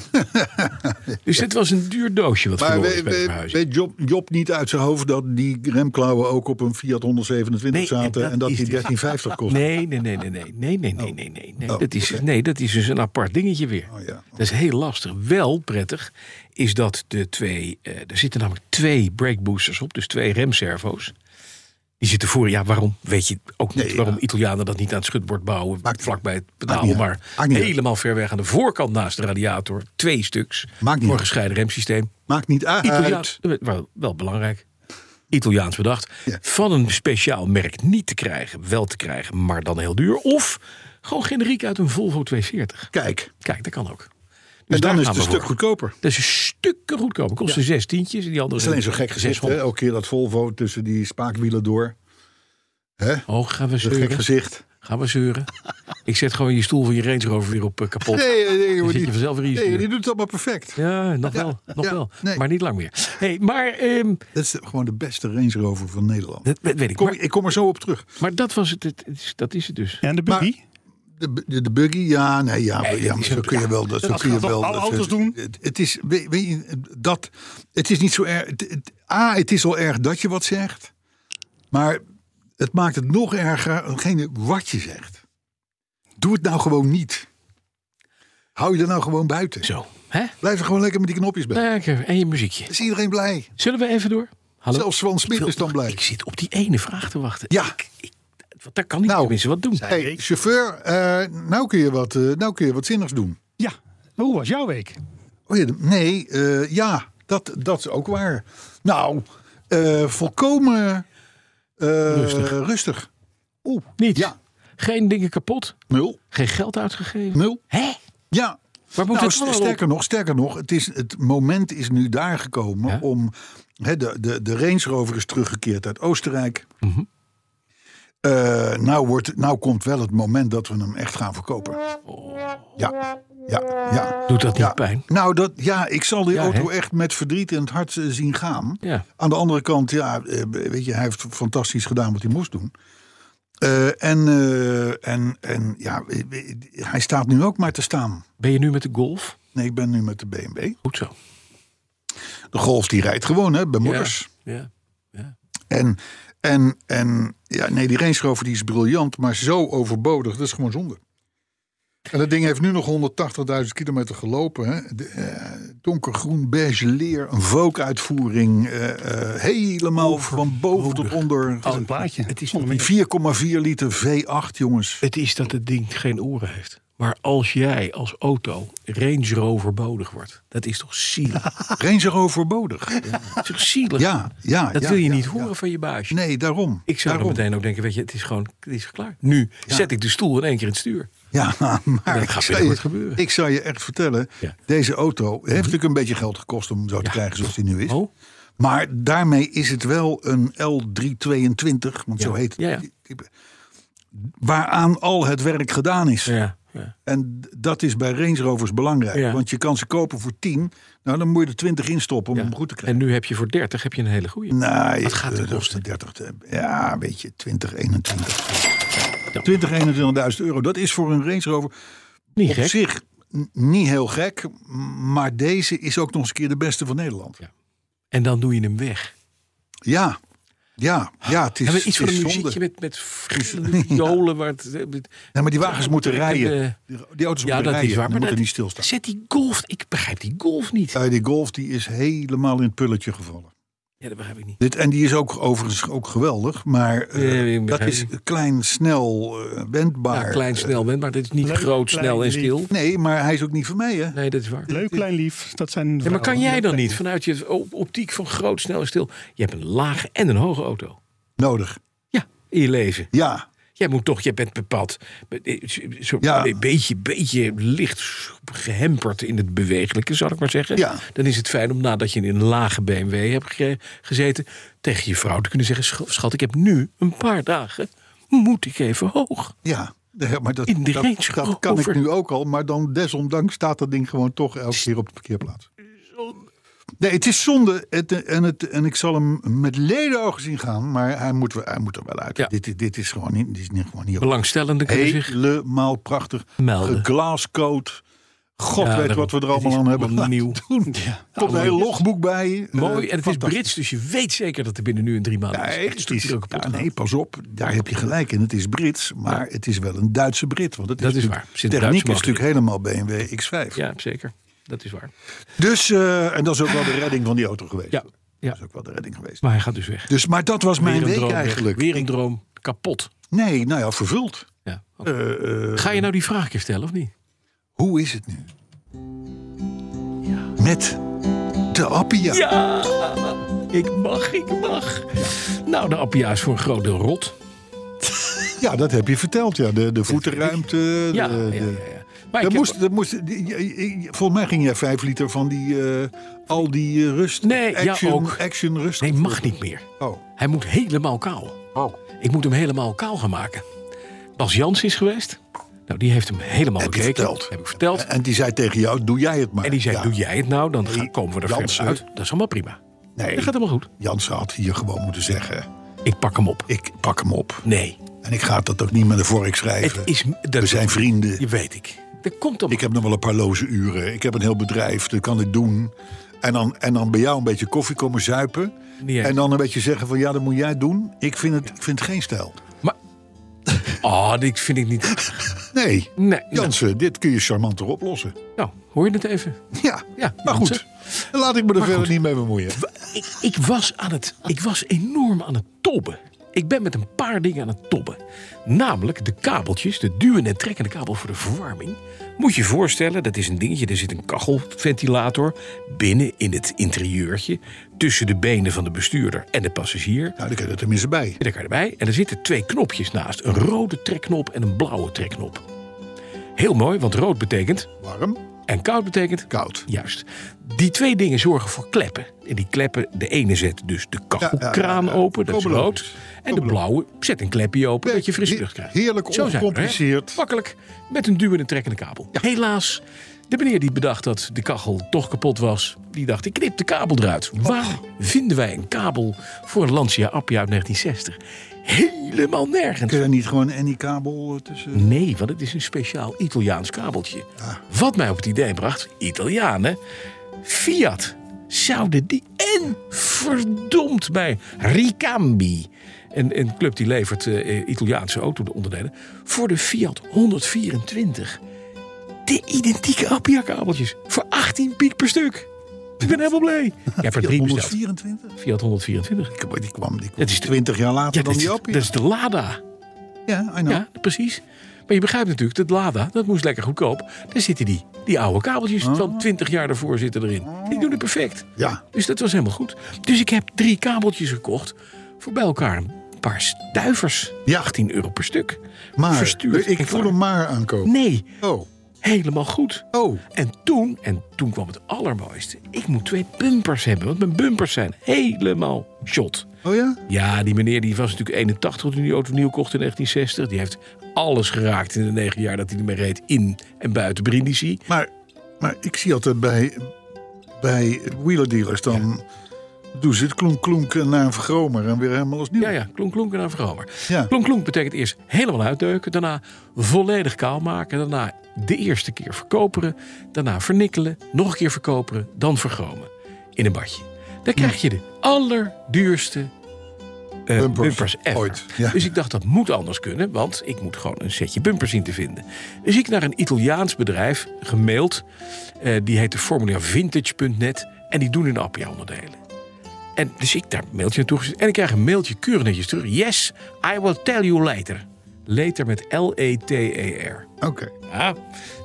B: dus dit was een duur doosje wat
C: Maar
B: verloren
C: weet,
B: is bij de
C: weet,
B: verhuizing.
C: weet Job, Job niet uit zijn hoofd dat die remklauwen ook op een Fiat 127
B: Nee,
C: zaten
B: dat
C: en dat
B: is
C: die
B: dus- (laughs)
C: 1350 kost?
B: Nee, nee, nee, nee, nee, nee, nee, nee, nee, nee. nee.
C: Oh,
B: dat is,
C: oké.
B: nee, dat is dus een apart dingetje weer.
C: Oh, ja.
B: Dat is heel lastig. Wel prettig is dat de twee, eh, er zitten namelijk twee brake boosters op, dus twee remservo's. Die zitten voor, ja, waarom? Weet je ook niet
C: Nee,
B: waarom
C: ja.
B: Italianen dat niet aan het schutbord bouwen,
C: Maakt-
B: vlakbij het
C: maakt
B: pedaal,
C: niet
B: maar
C: uit. Maakt niet uit.
B: helemaal ver weg aan de voorkant naast de radiator. Twee stuks
C: Maakt niet
B: voor
C: uit.
B: gescheiden remsysteem.
C: Maakt niet uit.
B: Italiaans, Eh, wel, wel belangrijk. Italiaans bedacht.
C: Ja.
B: Van een speciaal merk niet te krijgen, wel te krijgen, maar dan heel duur. Of gewoon generiek uit een Volvo 240.
C: Kijk,
B: Kijk, dat kan ook. Dus
C: en
B: daar
C: dan is
B: gaan
C: het een
B: we
C: stuk
B: voor.
C: goedkoper. Het
B: Dat is een stuk goedkoper. Kost er zes tientjes. en Die andere
C: is alleen zo gek gezicht, hè?
B: 600.
C: elke keer dat Volvo tussen die spaakwielen door. Hè?
B: Oh, gaan we
C: Dat gek
B: zeuren.
C: gezicht.
B: Gaan we
C: (laughs)
B: zeuren. Ik zet gewoon je stoel van je Range Rover weer op eh, kapot.
C: Nee, nee, nee,
B: Dan
C: joh,
B: zit
C: die,
B: je vanzelf weer in je
C: nee,
B: stuur.
C: die doet het allemaal perfect.
B: Ja, nog wel. Nog
C: ja,
B: wel.
C: nee.
B: Maar niet lang meer. Hey, maar, ehm,
C: Dat is gewoon de beste Range Rover van Nederland.
B: dat weet ik.
C: Kom,
B: Maar,
C: ik kom er zo op terug.
B: maar dat, was het, het- het is- dat is het dus.
D: Ja, en de buggy?
C: De, bu- de, de buggy, ja, nee, ja,
B: Nee,
C: ja
B: dat
C: maar
B: is
C: zo
B: een-
C: kun je wel. Dat, zo
D: dat
C: kun je
D: gaat toch
C: wel.
D: alle
C: dat-
D: auto's doen?
C: Het, het is, weet, weet je, dat, het is niet zo erg. Het, het- A, het is al erg dat je wat zegt. Maar het maakt het nog erger, hetgene wat je zegt. Doe het nou gewoon niet. Hou je er nou gewoon buiten.
B: Zo. Hè?
C: Blijf er gewoon lekker met die knopjes bij.
B: Lekker. En je muziekje.
C: Is iedereen blij?
B: Zullen we even door? Hallo?
C: Zelfs Swan Smit
B: wil-
C: is dan blij.
B: Ik zit op die ene vraag te wachten.
C: Ja.
B: Ik, ik, want daar kan ik
C: Nou.
B: tenminste wat doen.
C: Hey, chauffeur, eh, nou, kun je wat, eh, nou kun je wat zinnigs doen.
D: Ja. Hoe was jouw week?
C: Oh ja, de- nee, eh, ja, dat, dat is ook waar. Nou, eh, volkomen eh, rustig. Oeh,
B: Niet.
C: Ja.
B: Geen dingen kapot.
C: nul,
B: Geen geld uitgegeven.
C: nul.
B: Hé?
C: Ja.
B: Waar moet
C: nou,
B: het
C: st-
B: allemaal op?
C: sterker nog, sterker nog, het, is, het moment is nu daar gekomen
B: Ja.
C: om... Hè, de, de, de Range Rover is teruggekeerd uit Oostenrijk.
B: Mhm.
C: Eh, nou, wordt, nou komt wel het moment dat we hem echt gaan verkopen.
B: Oh.
C: Ja, ja, ja.
B: Doet dat niet
C: Ja,
B: pijn?
C: Nou, dat, ja, ik zal die
B: Ja,
C: auto
B: hè?
C: echt met verdriet in het hart eh, zien gaan.
B: Ja.
C: Aan de andere kant, ja, eh, weet je, hij heeft fantastisch gedaan wat hij moest doen. Eh, en, eh, en, en ja, eh, eh, hij staat nu ook maar te staan.
B: Ben je nu met de golf?
C: Nee, ik ben nu met de BMW.
B: Goed zo.
C: De Golf die rijdt gewoon, hè, bij
B: Ja.
C: moeders.
B: Ja.
C: En, en, en ja, nee, die Range Rover die is briljant, maar zo overbodig. Dat is gewoon zonde. En dat ding heeft nu nog 180.000 kilometer gelopen. Hè? De, eh, donkergroen, beige leer, een Vogue-uitvoering. eh, eh, helemaal van boven tot onder.
D: Dat is een plaatje.
B: het is
D: Zonder
B: nog
D: meer.
C: 4,4 liter V8,
B: (laughs)
C: jongens.
B: Het is dat het ding geen oren heeft. Maar als jij als auto Range Rover bodig wordt, dat is toch zielig? (laughs)
C: Range Rover bodig.
B: dat is toch zielig?
C: Ja, ja.
B: dat
C: ja,
B: wil je
C: ja,
B: niet
C: ja.
B: horen van je baasje.
C: Nee, daarom.
B: Ik zou er
C: daarom.
B: meteen ook denken, weet je, het is gewoon het is klaar. Nu zet ik de stoel in één keer in het stuur.
C: Ja, (laughs) maar
B: gaat
C: ik
B: weer
C: zou, je,
B: wat gebeuren.
C: ik zou je echt vertellen,
B: Ja. Mhm.
C: deze auto heeft natuurlijk een beetje geld gekost om hem zo te krijgen zoals die nu is.
B: Oh.
C: Maar daarmee is het wel een L322, want zo
B: Ja.
C: heet het.
B: Ja, ja.
C: Waaraan al het werk gedaan is.
B: Ja,
C: En d- dat is bij Range Rovers belangrijk.
B: Ja.
C: Want je kan ze kopen voor 10. Nou, dan moet je er 20 in stoppen om
B: Ja.
C: hem goed te
B: En
C: krijgen.
B: nu heb je voor 30 heb je een hele goede.
C: nou,
B: Wat gaat die
C: eh, dat
B: kosten?
C: is 30, eh, ja, weet je, 20, 21.
B: Ja.
C: 20, 21.000 euro. Dat is voor een Range Rover
B: Niet
C: op
B: gek.
C: zich n- niet heel gek. m- Maar deze is ook nog eens een keer de beste van Nederland.
B: Ja. En dan doe je hem weg.
C: Ja, ja, ja. Het is,
B: Hebben we iets van
C: het is
B: een
C: zonde.
B: muziekje met, met
C: (laughs)
B: verschillende violen? Waar het, eh, met-
C: Nee, maar die wagens moeten
B: Ik heb, eh,
C: rijden. Die die auto's
B: ja,
C: moeten
B: dat is
C: rijden.
B: waar.
C: Die
B: Maar
C: moeten
B: dat,
C: niet stilstaan.
B: Zet die golf. Ik begrijp die golf niet.
C: Eh, die Golf die is helemaal in het pulletje gevallen.
B: Ja, dat begrijp ik niet.
C: Dit, en die is ook overigens ook geweldig, maar eh,
B: Ja, ik
C: dat
B: begrijp
C: is
B: het.
C: klein, snel, eh,
B: Ja,
C: wendbaar.
B: klein, snel bent, maar dit is niet
D: leuk,
B: groot,
D: klein,
B: snel en
D: lief.
B: stil.
C: Nee, maar hij is ook niet van mij, hè?
B: Nee, dat is waar.
D: Leuk, klein lief. Dat zijn
B: Ja, maar kan
D: vrouwen.
B: jij dan niet vanuit je op- optiek van groot, snel en stil? Je hebt een lage en een hoge auto.
C: Nodig.
B: Ja, in je leven.
C: Ja,
B: Jij moet toch, jij bent bepaald. eh, zo- zo-
C: Ja.
B: Een beetje, beetje licht gehemperd in het bewegelijke, zal ik maar zeggen.
C: Ja.
B: Dan is het fijn om nadat je in een lage BMW hebt ge- gezeten, tegen je vrouw te kunnen zeggen: "Scha- Schat, ik heb nu een paar dagen. Moet ik even hoog?
C: ja. Ja, maar dat,
B: In de
C: dat,
B: Range
C: dat kan
B: Rover.
C: ik nu ook al, maar dan desondanks staat dat ding gewoon toch elke keer op de parkeerplaats. Nee, het is zonde het, eh, en, het, en ik zal hem met ledenogen zien gaan, maar hij moet, we- hij moet er wel uit.
B: Ja.
C: Dit, dit is gewoon niet, dit is niet, gewoon niet op.
B: Belangstellenden kunnen zich
C: Helemaal prachtig.
B: melden.
C: Glasscoat. God
B: Ja,
C: weet
B: daarom.
C: wat we er
B: Het
C: allemaal
B: is
C: aan hebben
B: allemaal
C: laten
B: nieuw.
C: doen. Komt een heel logboek bij.
B: (laughs) Mooi,
C: Eh,
B: en het is
C: fantastisch.
B: Brits, dus je weet zeker dat er binnen nu en drie maanden is.
C: Nee,
B: Het
C: het
B: stuk
C: is,
B: hier ook kapot
C: ja,
B: gaat.
C: nee, pas op, daar heb je gelijk in. Het is Brits, maar het is wel een Duitse Brit. Want het
B: Dat is
C: natuurlijk-
B: waar. Er zit een
C: Techniek
B: Duitse
C: is
B: motor
C: natuurlijk helemaal BMW X5.
B: Ja, zeker. Dat is waar.
C: Dus, eh, en dat is ook wel de redding van die auto geweest.
B: Ja, ja.
C: Dat is ook wel de redding geweest.
B: Maar hij gaat dus weg.
C: Dus, maar dat was mijn
B: een
C: week
B: droom weg.
C: eigenlijk.
B: Weer een droom. Kapot.
C: Nee, nou ja, vervuld.
B: Ja. oké.
C: Eh, eh,
B: Ga je nou die vraag keer stellen of niet?
C: Hoe is het nu? Met de Appia.
B: Ja, ik mag, ik mag. Nou, de Appia is voor een groot deel rot.
C: Ja, dat heb je verteld. Ja. De, de voetenruimte. De,
B: Ja, ja, Eh, ja, ja.
C: de-
B: Maar ik
C: Er
B: heb-
C: moest, er moest, die- die- die- volgens mij ging jij vijf liter van die eh al die eh, rust.
B: Nee, ja,
C: action,
B: ook.
C: Action rust.
B: Nee, mag niet meer.
C: Oh.
B: Hij moet helemaal kaal. Ik moet hem helemaal kaal gaan maken. Bas Jans is geweest. Nou, die heeft hem helemaal
C: Heb je
B: bekeken.
C: verteld.
B: Heb ik verteld.
C: En die zei tegen jou, doe jij het maar.
B: En die zei,
C: Ja,
B: doe jij het nou? Dan gaan- komen we er
C: Jansen.
B: verder uit. Dat is allemaal prima.
C: Nee,
B: Dat gaat helemaal goed.
C: Jansen had hier gewoon moeten zeggen,
B: Ik pak hem op.
C: ik pak hem op.
B: Nee.
C: En ik ga dat ook niet met een vork schrijven.
B: Het is, dat,
C: We zijn vrienden.
B: Je weet ik. Dat komt dan.
C: Ik heb nog wel een paar loze uren. Ik heb een heel bedrijf, dat kan ik doen. En dan, en dan bij jou een beetje koffie komen zuipen.
B: Niet eens.
C: En dan een beetje zeggen van ja, dat moet jij doen. Ik vind het, ik vind het geen stijl.
B: Maar... (laughs) Oh, dit vind ik niet...
C: Nee,
B: Nee. Nou,
C: Jansen, dit kun je charmanter oplossen.
B: nou, hoor je het even?
C: Ja,
B: Ja,
C: maar goed.
B: Jansen.
C: Laat ik me er verder niet mee bemoeien.
B: Ik, ik, was aan het, ik was enorm aan het tobben. Ik ben met een paar dingen aan het tobben. Namelijk de kabeltjes, de duwen en trekkende kabel voor de verwarming. Moet je je voorstellen, dat is een dingetje. Er zit een kachelventilator binnen in het interieurtje. Tussen de benen van de bestuurder en de passagier.
C: Nou, dan kun je er tenminste bij.
B: Daar kan je erbij. En er zitten twee knopjes naast. Een rode trekknop en een blauwe trekknop. Heel mooi, want rood betekent
C: Warm,
B: en koud betekent...
C: koud.
B: Juist. Die twee dingen zorgen voor kleppen. En die kleppen, de ene zet dus de kachelkraan
C: Ja, ja, ja.
B: open, dat is
C: Komen
B: rood.
C: logisch.
B: En de blauwe zet een klepje open,
C: Nee,
B: dat je frisse
C: he-
B: lucht krijgt.
C: heerlijk
B: Zo zijn we er, hè?
C: ongecompliceerd.
B: Makkelijk, met een duwende en trekkende kabel. Helaas, de meneer die bedacht dat de kachel toch kapot was... die dacht, ik knip de kabel eruit. Waar vinden wij een kabel voor een Lancia Appia uit 1960? Helemaal nergens.
C: Kun je daar niet gewoon any kabel eh, tussen?
B: Nee, want het is een speciaal Italiaans kabeltje. Wat mij op het idee bracht, Italianen, Fiat zouden die... En verdomd bij Ricambi, een, een club die levert eh, eh, Italiaanse auto-onderdelen... voor de Fiat 124. De identieke Appia-kabeltjes, voor 18 piek per stuk. Ik ben helemaal blij. Jij hebt er
C: (laughs)
B: drie besteld.
C: 124?
B: Fiat 124.
C: Ik- Die kwam, die kwam
B: Het is
C: 20 jaar later
B: Ja,
C: dan
B: dat, is,
C: die
B: dat
C: Appia.
B: is de Lada.
C: ja, I know.
B: Ja, precies. Maar je begrijpt natuurlijk, dat Lada, dat moest lekker goedkoop. Daar zitten die, die oude kabeltjes van 20 jaar daarvoor zitten erin. Die doen het perfect.
C: Oh. Ja.
B: Dus dat was helemaal goed. Dus ik heb drie kabeltjes gekocht voor bij elkaar een paar stuivers.
C: Ja.
B: 18 euro per stuk.
C: Maar
B: Verstuurd
C: ik
B: en
C: voel
B: klaar.
C: hem maar aankomen.
B: Nee,
C: Oh,
B: helemaal goed.
C: Oh.
B: En toen, en toen kwam het allermooiste. Ik moet twee bumpers hebben, want mijn bumpers zijn helemaal shot.
C: Oh ja?
B: Ja, die meneer die was natuurlijk 81 toen hij die auto nieuw kocht in 1960. Die heeft alles geraakt in de negen jaar dat hij ermee reed in en buiten Brindisi.
C: Maar, maar ik zie altijd bij, bij wielerdealers dan... Doen ze het klonk klonk naar een vergromer en weer helemaal als nieuw.
B: Ja, ja, klonk klonk en dan verhomer.
C: Ja.
B: Klonk klonk betekent eerst helemaal uitdeuken, daarna volledig kaal maken, daarna de eerste keer verkoperen, daarna vernikkelen, nog een keer verkoperen, dan vergromen in een badje. Dan krijg je de allerduurste eh,
C: Bumpers.
B: bumpers, ever.
C: Ooit, ja.
B: Dus ik dacht, dat moet anders kunnen, want ik moet gewoon een setje bumpers zien te vinden. Dus ik naar een Italiaans bedrijf gemaild, eh, die heette Formula Vintage.net en die doen in Appia onderdelen. En dus ik daar een mailtje naartoe gestuurd. En ik krijg een mailtje keurig netjes terug. Yes, I will tell you later. Later met E L-E-T-E-R.
C: Oké.
B: Ja,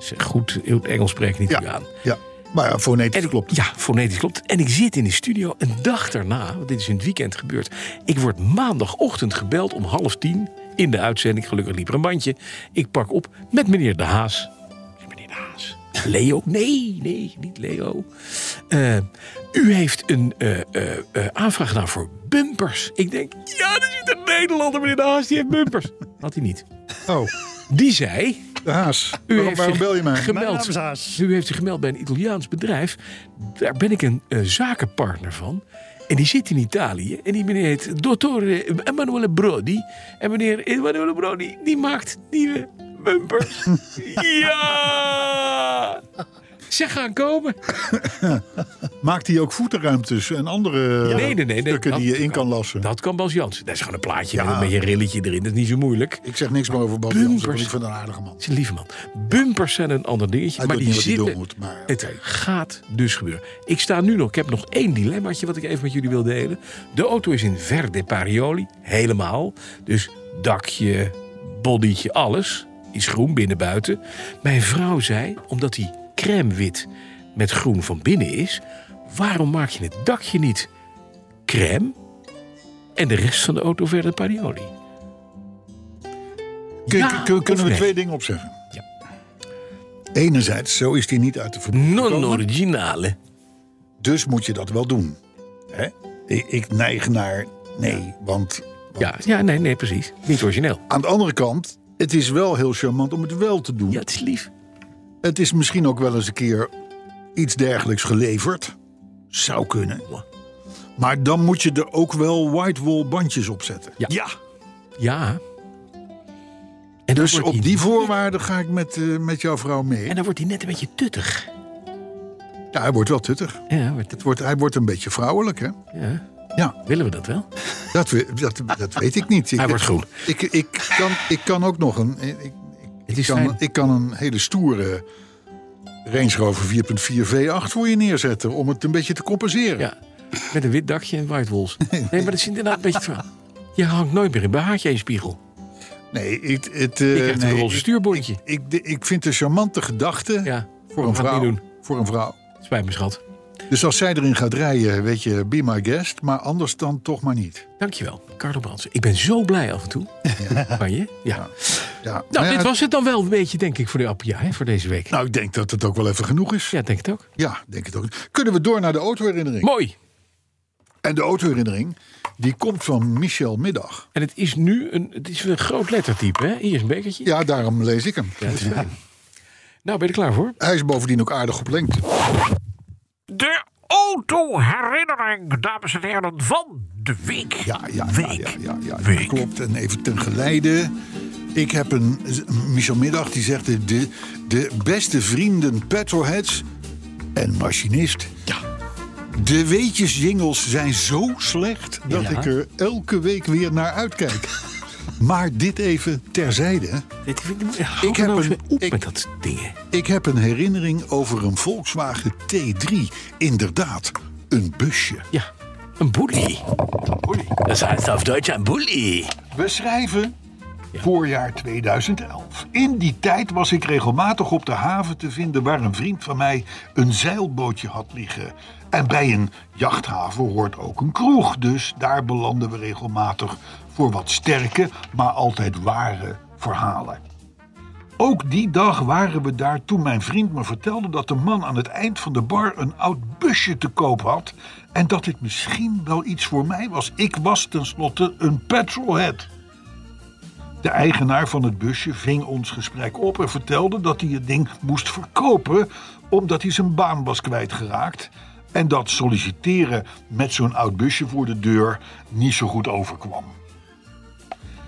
B: is Ah, goed in het Engels spreken niet
C: Ja.
B: u aan.
C: ja. Maar ja, fonetisch
B: En ik-
C: klopt het.
B: Ja, fonetisch klopt. En ik zit in de studio een dag daarna, want dit is in het weekend gebeurd. Ik word maandagochtend gebeld om half tien in de uitzending. Gelukkig liep er een bandje. Ik pak op met meneer De Haas. Ik zeg, Meneer De Haas. Leo? Nee, nee, niet Leo. Eh, u heeft een eh, eh, eh, aanvraag gedaan voor bumpers. Ik denk, ja, er zit een Nederlander, meneer De Haas, die heeft bumpers. Had hij niet.
C: Oh,
B: Die zei,
C: de haas.
B: u
C: Waarom,
B: heeft
C: waarom
B: zich
C: bel je mij?
D: Mijn naam
B: Gemeld.
D: is Haas.
B: U heeft zich gemeld bij een Italiaans bedrijf. Daar ben ik een eh, zakenpartner van. En die zit in Italië. En die meneer heet Dottore Emanuele Brodi. En meneer Emanuele Brodi, die maakt nieuwe
C: (laughs)
B: bumpers. ja! Ze gaan komen.
C: Maakt hij ook voetenruimtes en andere
B: nee, nee, nee, nee,
C: stukken
B: dat-
C: die je in kan lassen?
B: Dat kan Bas Jansen. Dat is gewoon een plaatje
C: Ja.
B: met een beetje een rilletje erin. Dat is niet zo moeilijk.
C: Ik zeg niks meer over Bob Jansen, want
B: Bumpers.
C: ik vind hem een aardige man.
B: Het is een lieve man. Bumpers zijn een ander dingetje.
C: Hij
B: maar
C: doet
B: die
C: niet wat hij
B: zitten,
C: doen moet, maar
B: Het
C: oké.
B: gaat dus gebeuren. Ik sta nu nog. Ik heb nog één dilemmaatje wat ik even met jullie wil delen. De auto is in verde parioli. Helemaal. Dus dakje, bodytje, alles. Is groen binnen buiten. Mijn vrouw zei, omdat die crème wit met groen van binnen is... waarom maak je het dakje niet crème en de rest van de auto verde parioli?
C: Kun-
B: Ja,
C: kun- kun- kunnen
B: of
C: we
B: nee?
C: twee dingen opzeggen?
B: Ja.
C: Enerzijds, zo is die niet uit de verkoop
B: Non
C: gekomen,
B: originale.
C: Dus moet je dat wel doen. Hè? Ik, ik neig naar nee, want
B: Ja, ja nee, nee, precies. Niet origineel.
C: aan de andere kant, het is wel heel charmant om het wel te doen.
B: Ja, het is lief.
C: Het is misschien ook wel eens een keer iets dergelijks geleverd. Zou kunnen. Maar dan moet je er ook wel whitewall bandjes op zetten.
B: Ja. Ja. En
C: Dus
B: dan wordt
C: op
B: hij-
C: die voorwaarden ga ik met, eh, met jouw vrouw mee.
B: En dan wordt hij net een beetje tuttig.
C: Ja, hij wordt wel tuttig.
B: Ja, wordt
C: Het wordt, hij wordt een beetje vrouwelijk, hè?
B: ja.
C: Ja,
B: Willen we dat wel?
C: dat, we- dat, dat weet ik niet.
B: (laughs)
C: Ik,
B: Hij wordt groen.
C: Ik, ik, kan, ik kan ook nog een... Ik, ik-
B: Het
C: ik,
B: is
C: kan,
B: fijn.
C: ik kan een hele stoere Range Rover 4.4 V8 voor je neerzetten... om het een beetje te compenseren.
B: Ja. Met een wit dakje en white wolves. Nee, maar dat is inderdaad een beetje... het verhaal. Je hangt nooit meer in behaartje in je spiegel.
C: Nee, ik, het,
B: Je
C: eh,
B: krijgt
C: nee,
B: een roze
C: ik-
B: stuurbondje.
C: Ik, de- ik vind de charmante gedachte
B: Ja,
C: voor, een
B: gaat niet
C: vrouw,
B: doen.
C: voor een vrouw.
B: Spijt me, schat.
C: Dus als zij erin gaat rijden, weet je, be my guest. Maar anders dan toch maar niet.
B: Dankjewel, Carlo Bransen. Ik ben zo blij af en toe. Van je? Ja.
C: Ja.
B: Nou,
C: ja,
B: dit was het dan wel een beetje, denk ik, voor, de, appia, hè, voor deze week.
C: nou, ik denk dat het ook wel even genoeg is. Ja,
B: Ja, denk het ook.
C: denk het ook. Kunnen we door naar de autoherinnering?
B: Mooi.
C: en de autoherinnering, die komt van Michel Middag.
B: En het is nu een, het is een groot lettertype, hè? Hier is een bekertje.
C: Ja, daarom lees ik hem.
B: dat is fijn. Nou, ben je er klaar voor?
C: Hij is bovendien ook aardig op lengte.
E: De autoherinnering, dames en heren, van de week.
C: Ja, ja, ja,
E: week.
C: ja, ja, ja, ja,
E: Week.
C: klopt. En even ten geleide. Ik heb een Michel Middag die zegt de, de, de beste vrienden petrolheads en machinist. Ja. De weetjes jingles zijn zo slecht dat ik er elke week weer naar uitkijk.
E: (laughs)
C: maar dit even terzijde.
B: Dit vind ik
C: Ik heb
B: nou
C: een-
B: eens op
C: ik-
B: met dat ding. hè.
C: Ik heb een herinnering over een Volkswagen T3. Inderdaad, een busje.
B: Ja, een boelie. Dat heißt auf Deutsch een boelie.
C: We schrijven voorjaar 2011. In die tijd was ik regelmatig op de haven te vinden waar een vriend van mij een zeilbootje had liggen. En bij een jachthaven hoort ook een kroeg, dus daar belanden we regelmatig voor wat sterke, maar altijd ware verhalen. Ook die dag waren we daar toen mijn vriend me vertelde dat de man aan het eind van de bar een oud busje te koop had. En dat dit misschien wel iets voor mij was. Ik was tenslotte een petrolhead. De eigenaar van het busje ving ons gesprek op en vertelde dat hij het ding moest verkopen omdat hij zijn baan was kwijtgeraakt. En dat solliciteren met zo'n oud busje voor de deur niet zo goed overkwam.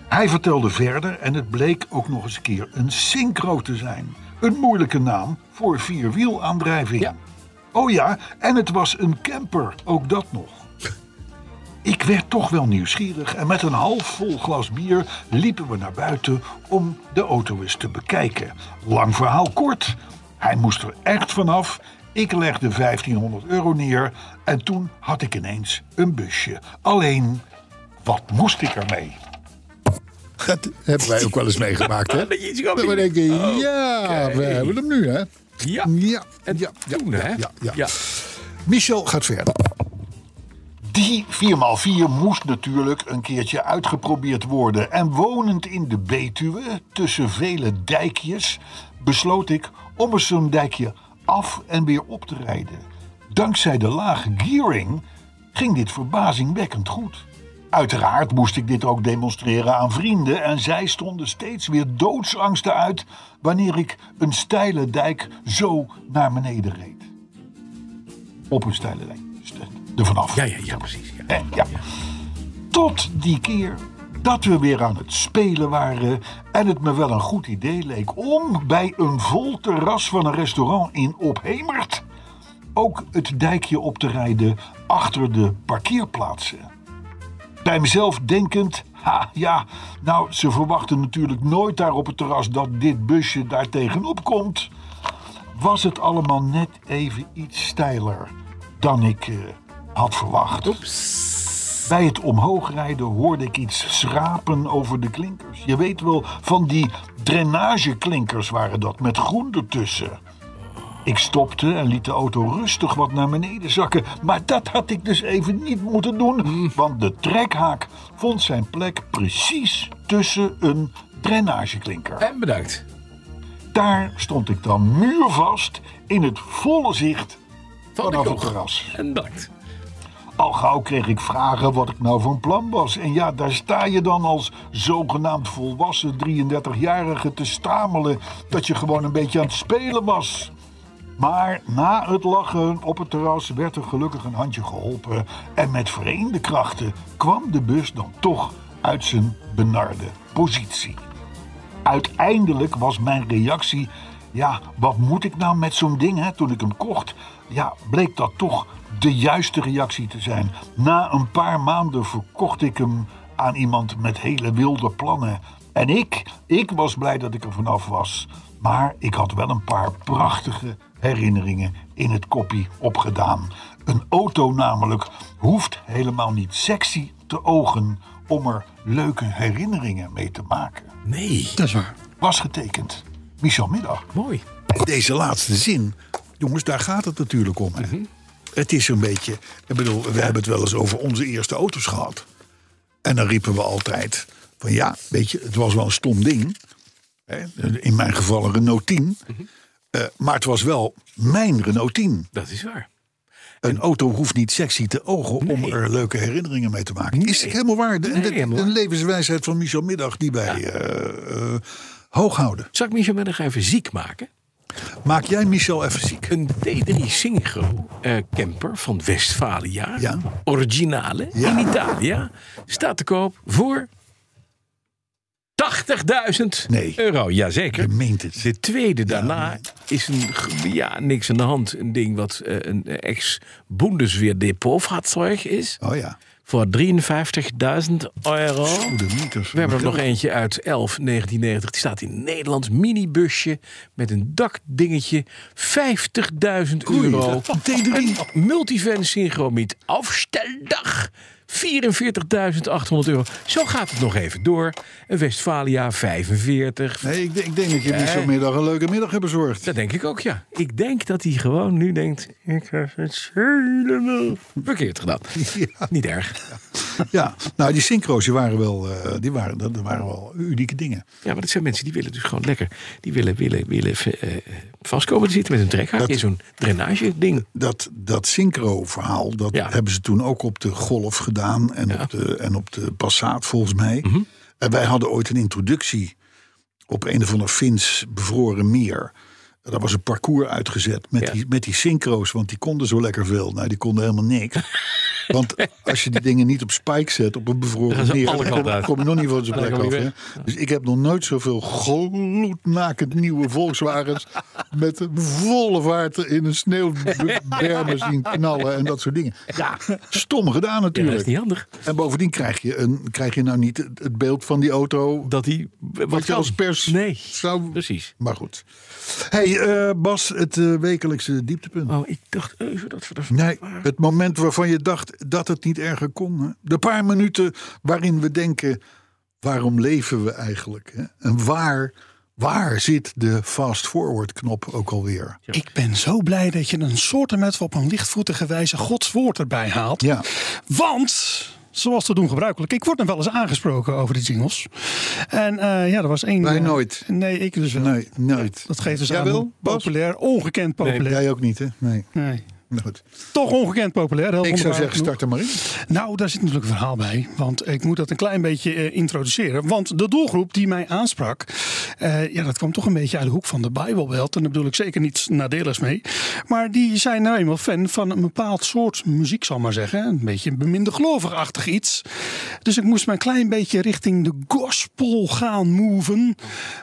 C: Hij vertelde verder en het bleek ook nog eens een keer een synchro te zijn. Een moeilijke naam voor vierwielaandrijving. Oh ja, en het was een camper, ook dat nog. Ik werd toch wel nieuwsgierig en met een half vol glas bier liepen we naar buiten om de auto eens te bekijken. Lang verhaal kort, hij moest er echt vanaf. Ik legde 1500 euro neer en toen had ik ineens een busje. Alleen, wat moest ik ermee?
F: Dat hebben wij ook wel eens meegemaakt, hè?
B: (laughs) Dat je iets
F: Dat we
B: kan
F: denken, ja, we hebben hem nu, hè?
B: Ja.
F: Ja,
B: En
F: ja, ja,
B: toen, hè?
F: ja, ja, ja. Michel gaat verder.
C: Die 4x4 moest natuurlijk een keertje uitgeprobeerd worden. En wonend in de Betuwe, tussen vele dijkjes, besloot ik om eens zo'n dijkje af en weer op te rijden. Dankzij de lage gearing ging dit verbazingwekkend goed. Uiteraard moest ik dit ook demonstreren aan vrienden en zij stonden steeds weer doodsangsten uit wanneer ik een steile dijk zo naar beneden reed. Op een steile dijk. dus Er vanaf.
B: Ja, ja, ja, precies. Ja.
C: Eh, ja. Tot die keer dat we weer aan het spelen waren en het me wel een goed idee leek om bij een vol terras van een restaurant in Ophemert ook het dijkje op te rijden achter de parkeerplaatsen. Bij mezelf denkend, (laughs) ha ja, nou ze verwachten natuurlijk nooit daar op het terras dat dit busje daar tegenop komt. Was het allemaal net even iets steiler dan ik eh, had verwacht. Bij het omhoogrijden hoorde ik iets schrapen over de klinkers. Je weet wel, van die drainageklinkers waren dat, met groen ertussen. Ik stopte en liet de auto rustig wat naar beneden zakken. Maar dat had ik dus even niet moeten doen, want de trekhaak vond zijn plek precies tussen een drainageklinker.
B: En bedankt.
C: Daar stond ik dan muurvast in het volle zicht vanaf het terras.
B: En bedankt.
C: Al gauw kreeg ik vragen wat ik nou van plan was. En ja, daar sta je dan als zogenaamd volwassen 33-jarige te stamelen dat je gewoon een beetje aan het spelen was. Maar na het lachen op het terras werd er gelukkig een handje geholpen. En met vereende krachten kwam de bus dan toch uit zijn benarde positie. Uiteindelijk was mijn reactie: ja, wat moet ik nou met zo'n ding hè, toen ik hem kocht? Ja, bleek dat toch de juiste reactie te zijn. Na een paar maanden verkocht ik hem aan iemand met hele wilde plannen. En ik, ik was blij dat ik er vanaf was. Maar ik had wel een paar prachtige herinneringen in het koppie opgedaan. Een auto namelijk hoeft helemaal niet sexy te ogen om er leuke herinneringen mee te maken
B: Nee.
D: Dat is waar.
C: was getekend. Michel Middag.
B: Mooi.
F: Deze laatste zin, jongens, daar gaat het natuurlijk om. Hè?
B: Mhm.
F: Het is een beetje, ik bedoel, we hebben het wel eens over onze eerste auto's gehad. En dan riepen we altijd van ja, weet je, het was wel een stom ding. Hè? In mijn geval een Renault 10.
B: Mhm.
F: Eh, maar het was wel mijn Renault 10.
B: Dat is waar.
F: Een auto hoeft niet sexy te ogen om er leuke herinneringen mee te maken. Is het helemaal waar? De-
B: Nee,
F: de-
B: helemaal waar.
F: Een levenswijsheid van Michel Middag die wij eh, eh, hoog houden.
B: Zal ik Michel Middag even ziek maken?
F: Maak jij Michel even ziek?
B: Een T3 Synchro eh, camper van Westfalia.
F: Ja.
B: Originale.
F: Ja.
B: In Italië. Staat te koop voor 80.000
F: Nee.
B: euro. Jazeker.
F: Je meent het.
B: De tweede daarna is een, g- ja, niks aan de hand. Een ding wat eh, een ex-Bundeswehr depotvaartuig is.
F: Oh ja.
B: Voor 53.000 euro.
C: Oh,
F: Goede meters.
B: We hebben er nog eentje uit 11 1990. Die staat in een Nederlands minibusje met een dakdingetje. 50.000 euro.
F: Van T3.
B: Multivan Synchromiet afsteldag. 44.800 euro. Zo gaat het nog even door. Een Westfalia 45.
F: Nee, ik, denk- ik denk dat je Michel
B: Eh.
F: Middag een leuke middag hebt
B: (laughs)
F: bezorgd.
B: Dat denk ik ook, ja. Ik denk dat hij gewoon nu denkt... Ik heb het helemaal verkeerd gedaan. Niet erg.
C: ja, nou die synchro's die waren wel, eh, die waren, dat waren wel unieke dingen.
B: Ja, maar dat zijn mensen die willen dus gewoon lekker. Die willen, willen, willen eh, vastkomen te zitten met een trekhaak
C: Dat-
B: in zo'n drainage ding.
C: Dat, dat synchro-verhaal, dat
B: Ja.
C: hebben ze toen ook op de Golf gedaan en, op, de, en op de Passat volgens mij.
B: Mhm.
C: En wij hadden ooit een introductie op een of ander Fins bevroren meer. En Daar was een parcours uitgezet met,
B: Ja.
C: die, met die synchro's, want die konden zo lekker veel. Nou, die konden helemaal niks. Want als je die dingen niet op spike zet, op een
B: Dan gaan (laughs)
C: bevroren
B: ze
C: meer,
B: alle
C: dan
B: kanten
C: kom,
B: uit.
C: kom je nog niet
B: (laughs)
C: van zijn
B: Dan
C: plek
B: kom
C: af.
B: je
C: hè. Dus ik heb nog nooit zoveel gloednakend nieuwe
B: (laughs)
C: Volkswagens met een volle vaart in een
B: (laughs)
C: sneeuwbermen zien knallen en dat soort dingen. Ja, stom gedaan
B: Ja, dat is
C: natuurlijk.
B: niet handig.
C: en bovendien krijg je, een, krijg je nou niet het het beeld van die auto
B: Dat die wat
C: wat je
B: kan.
C: als pers
B: Nee,
C: zou...
B: precies.
C: Maar goed. hey, eh, Bas, het eh, wekelijkse dieptepunt.
B: Oh, ik dacht even dat we er...
C: Nee, het moment waarvan je dacht dat het niet erger kon. hè. De paar minuten waarin we denken, waarom leven we eigenlijk? Hè? En waar, waar zit de fast-forward knop ook alweer?
D: Ik ben zo blij dat je een soort met op een lichtvoetige wijze Gods woord erbij haalt.
C: Ja,
D: Want, zoals te doen gebruikelijk, ik word nog wel eens aangesproken over de jingles. En eh, ja, er was één.
C: Wij
D: eh,
C: nooit.
D: Nee, ik dus wel.
C: nee, nooit.
D: Dat geeft dus
C: Jij
D: aan
C: wel,
D: hoe
C: Bas?
D: populair, ongekend populair.
C: Jij ook niet, hè? Nee.
D: Nee.
C: Nou Goed.
D: Toch ongekend populair. Heel
C: Ik zou
D: wonderbaar
C: zeggen,
D: genoeg.
C: start er maar in.
D: Nou, daar zit natuurlijk een verhaal bij. Want ik moet dat een klein beetje eh, introduceren. Want de doelgroep die mij aansprak, eh, ja, dat kwam toch een beetje uit de hoek van de Bijbelbelt. En daar bedoel ik zeker niets nadeligs mee. Maar die zijn nou eenmaal fan van een bepaald soort muziek, zal ik maar zeggen. Een beetje een beminder gelovigachtig iets. Dus ik moest me een klein beetje richting de gospel gaan moven.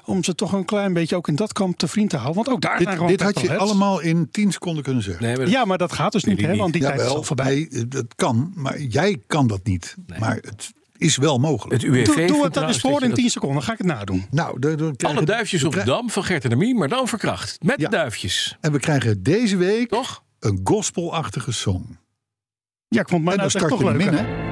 D: Om ze toch een klein beetje ook in dat kamp te vriend te houden. Want ook daar zijn
C: Dit,
D: gewoon
C: dit had je
D: petrolheads.
C: allemaal in 10 seconden kunnen zeggen.
B: Nee, maar
D: Ja, maar dat gaat dus niet, hè?
B: niet.
D: Want die tijd is al voorbij.
C: nee, dat kan, maar jij kan dat niet. Maar het is wel mogelijk.
B: het UWV...
D: Doe, doe
B: vindt
D: het dan eens
B: trouwens
D: voor
B: je
D: in
B: dat-
D: 10 seconden. Dan ga ik het nadoen.
C: Nou, dan- dan krijg
B: Alle
C: je-
B: duifjes op de dam van Gert en Mie, maar dan verkracht. Met
C: Ja.
B: duifjes.
C: En we krijgen deze week
B: Toch? Nou,
C: een gospelachtige song.
D: Ja, ik vond mijn
C: en dan
D: uitleg
C: start
D: toch
C: je hem
D: leuk.
C: in, hè?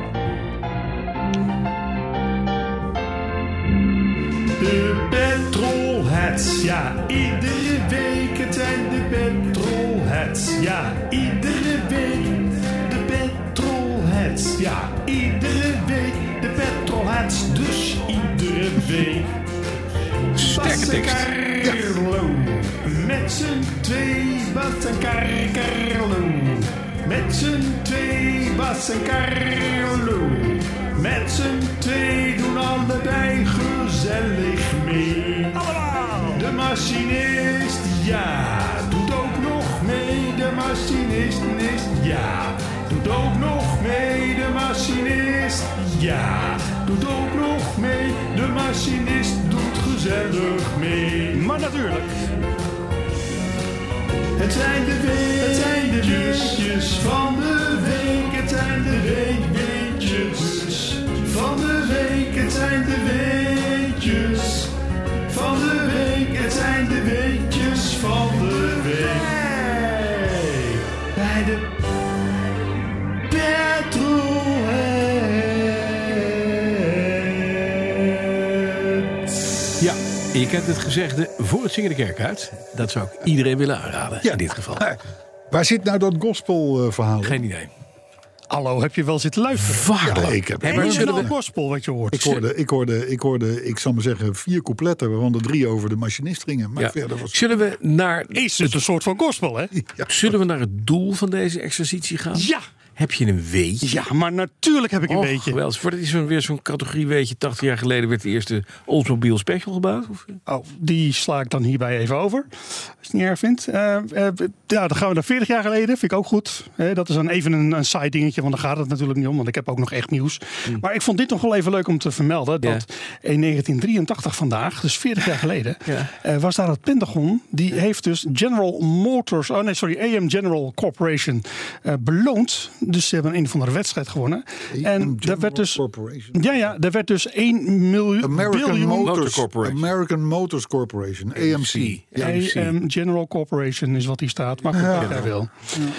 G: De petrolheads, ja, iedere week het zijn de petrolheads. Ja, iedere week de petrolheads. Ja, iedere week de petrolheads. Dus iedere week.
B: Sterke
G: Bas en
B: tekst.
G: Carlo, met z'n twee Bas en Car- Carlo. Met z'n twee Bas en Carlo. Met z'n twee doen allebei gezellig mee. Allemaal! De machinist, ja, doet ook nog mee. De machinist, nist, ja, doet ook nog mee. De machinist, ja, doet ook nog mee. De machinist doet gezellig mee. Maar natuurlijk. Het zijn de weetjes, het zijn de weetjes van de week. Het zijn de weetjes van de week. Het zijn de weetjes van de week. Het zijn de weetjes van de week. Bij de Petrolheads.
B: Ja, je kent het gezegde, voor het zingen de kerk uit. Dat zou ik iedereen willen aanraden, in dit geval.
C: Maar waar zit nou dat gospelverhaal?
B: Geen idee.
D: Hallo, heb je wel zitten luisteren?
B: Waarlijk.
C: ik heb-
B: Hey, maar
D: Maar
B: we
D: is
B: zullen
D: een
B: we-
D: gospel wat je hoort.
C: Ik hoorde, ik, hoorde, ik hoorde, ik zal maar zeggen, vier coupletten, waarvan de drie over de machinist gingen. Maar
B: Ja.
C: verder was
B: Zullen we naar
D: Is het een soort van gospel, hè?
B: Zullen we naar het doel van deze exercitie gaan?
D: Ja.
B: Heb je een weetje?
D: Ja, maar natuurlijk heb ik een
B: Och,
D: beetje.
B: geweldig. Voor- Dit is zo'n- weer zo'n categorie weetje. 80 jaar geleden werd de eerste Oldsmobile Special gebouwd. Of, eh?
D: Oh, die sla ik dan hierbij even over. Als je het niet erg vindt. Eh, eh, ja, dan gaan we naar 40 jaar geleden. Vind ik ook goed. Eh, dat is dan even een, een saai dingetje, want daar gaat het natuurlijk niet om. Want ik heb ook nog echt nieuws. Maar ik vond dit nog wel even leuk om te vermelden. Dat in 1983 vandaag, dus 40 jaar geleden,
B: Ja.
D: eh, was daar het Pentagon. Die heeft dus General Motors, oh nee, sorry, AM General Corporation eh, beloond. Dus ze hebben een van de wedstrijd gewonnen. en daar
C: dat
D: werd dus...
C: Corporation.
D: Ja, ja, daar werd dus 1 miljoen.
C: American
D: biljoen-
C: Motors,
B: Corporation.
C: American Motors Corporation, AMC.
B: Ja, precies.
D: AM ehm, General Corporation is wat hier staat. Maar goed, wat jij wil.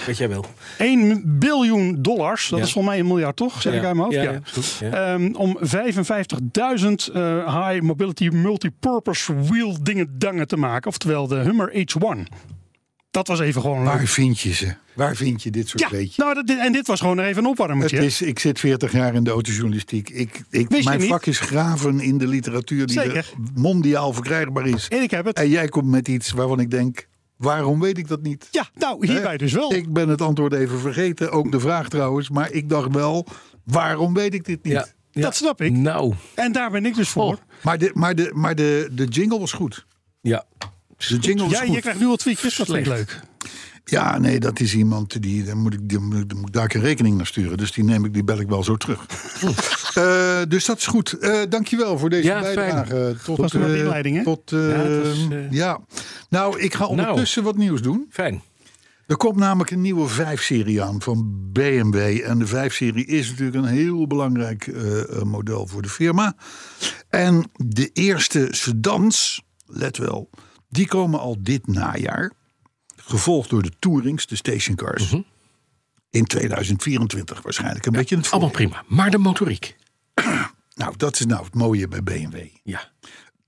B: Weet jij wel.
D: 1 biljoen dollars, dat
B: Ja.
D: is volgens mij een miljard toch? Zeg
B: Ja.
D: ik uit mijn hoofd?
B: Ja,
D: Ja.
B: ja, is goed,
D: Ehm, om 55.000 eh, high mobility multipurpose wheel dingen dangen te maken. Oftewel de Hummer H1. dat was even gewoon leuk.
C: Waar vind je ze? Waar vind je dit soort
D: Ja,
C: weetje?
D: nou, dat, dit- en dit was gewoon even een
C: Het
D: opwarmertje.
C: is, ik zit 40 jaar in de autojournalistiek. Ik,
D: Wist
C: ik,
D: je
C: mijn
D: niet?
C: vak is graven in de literatuur die er
D: Zeker.
C: mondiaal verkrijgbaar is.
D: En ik heb het.
C: En jij komt met iets waarvan ik denk: waarom weet ik dat niet?
D: Ja, nou, hierbij
C: Hè?
D: dus wel.
C: Eh, Ik ben het antwoord even vergeten, ook de vraag trouwens. Maar ik dacht wel: waarom weet ik dit niet?
B: Ja. Ja.
D: Dat snap ik.
B: Nou,
D: En daar ben ik dus voor.
C: Maar, de, maar, de, maar de, de jingle was goed.
B: ja.
C: De jingle was
D: ja,
C: goed.
D: je krijgt nu al tweetjes. Dat vind ik leuk.
C: Ja, nee, dat is iemand die. Daar moet ik, die, moet- daar moet ik daar een rekening naar sturen. Dus die neem ik, die bel ik wel zo
B: (laughs)
C: terug. Eh, dus dat is goed. Eh dankjewel voor deze
B: Ja, fijn.
C: bijdrage. Tot,
D: was een
C: eh,
D: goede inleiding, hè?
C: Tot, eh,
B: Ja,
C: ja,
B: het was, eh,
C: Nou, ik ga ondertussen wat nieuws doen.
B: Fijn.
C: Er komt namelijk een nieuwe 5-serie aan van BMW. En de 5-serie is natuurlijk een heel belangrijk eh, eh, model voor de firma. En de eerste sedans, let wel, die komen al dit najaar. Gevolgd door de Tourings, de stationcars. In 2024 waarschijnlijk. Een beetje in het
B: Allemaal
C: voorjaar.
B: prima. Maar de motoriek.
C: Nou, dat is nou het mooie bij BMW.
B: Ja,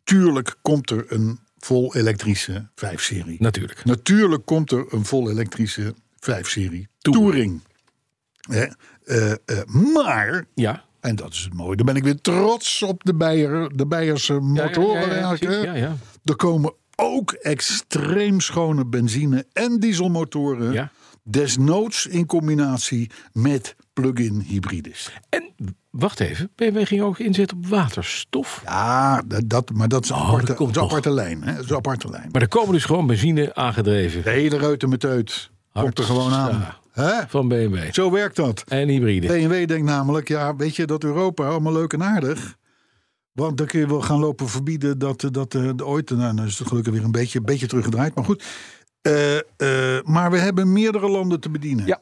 C: Tuurlijk komt er een vol elektrische
B: Nou,
C: 5-serie.
B: natuurlijk.
C: Natuurlijk komt er een vol elektrische 5-serie Touring. Hè? Eh, eh, maar,
B: Ja.
C: en dat is het mooie, dan ben ik weer trots op de, Beier, de Beierse motoren.
B: ja, ja,
C: eigenlijk,
B: precies.
C: hè.
B: Ja, ja.
C: Er komen ook extreem schone benzine- en dieselmotoren.
B: Ja.
C: Desnoods in combinatie met plug-in hybrides.
B: En wacht even. BMW ging ook inzetten op waterstof.
C: Ja, dat, dat- maar dat is een aparte,
B: Oh, dat komt
C: dat is een
B: nog.
C: aparte lijn. Hè? Dat is een aparte lijn.
B: Maar er komen dus gewoon benzine aangedreven
C: de hele reutemeteut komt er gewoon aan.
B: Ja.
C: Hè?
B: van BMW.
C: Zo werkt dat.
B: En hybride.
C: BMW denkt namelijk, ja, weet je, dat Europa allemaal leuk en aardig. Want dan kun je wel gaan lopen verbieden dat, eh, dat eh, de ooit... Nou, nou is het gelukkig weer een beetje, beetje teruggedraaid, maar goed. Eh, eh, maar we hebben meerdere landen te bedienen.
B: Ja.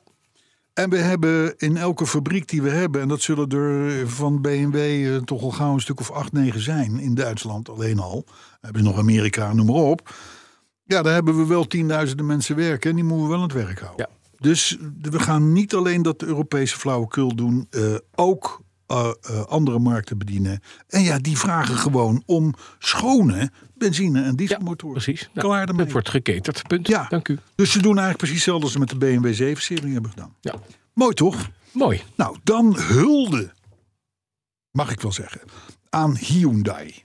C: En we hebben in elke fabriek die we hebben... en dat zullen er eh, van BMW eh, toch al gauw een stuk of acht, negen zijn... in Duitsland alleen al. Dan hebben ze nog Amerika, noem maar op. Ja, daar hebben we wel tienduizenden mensen werken... en die moeten we wel aan het werk houden. Dus we gaan niet alleen dat Europese flauwekul doen, eh, ook eh, eh, andere markten bedienen. En ja, die vragen gewoon om schone benzine- en dieselmotoren.
B: Precies. Nou,
C: Klaar ermee.
B: Het wordt geketerd. Punt.
C: Ja.
B: Dank u.
C: Dus ze doen eigenlijk precies hetzelfde als ze met de BMW 7-serie hebben gedaan.
B: Ja.
C: Mooi toch?
B: Mooi.
C: Nou, dan hulde, mag ik wel zeggen, aan Hyundai.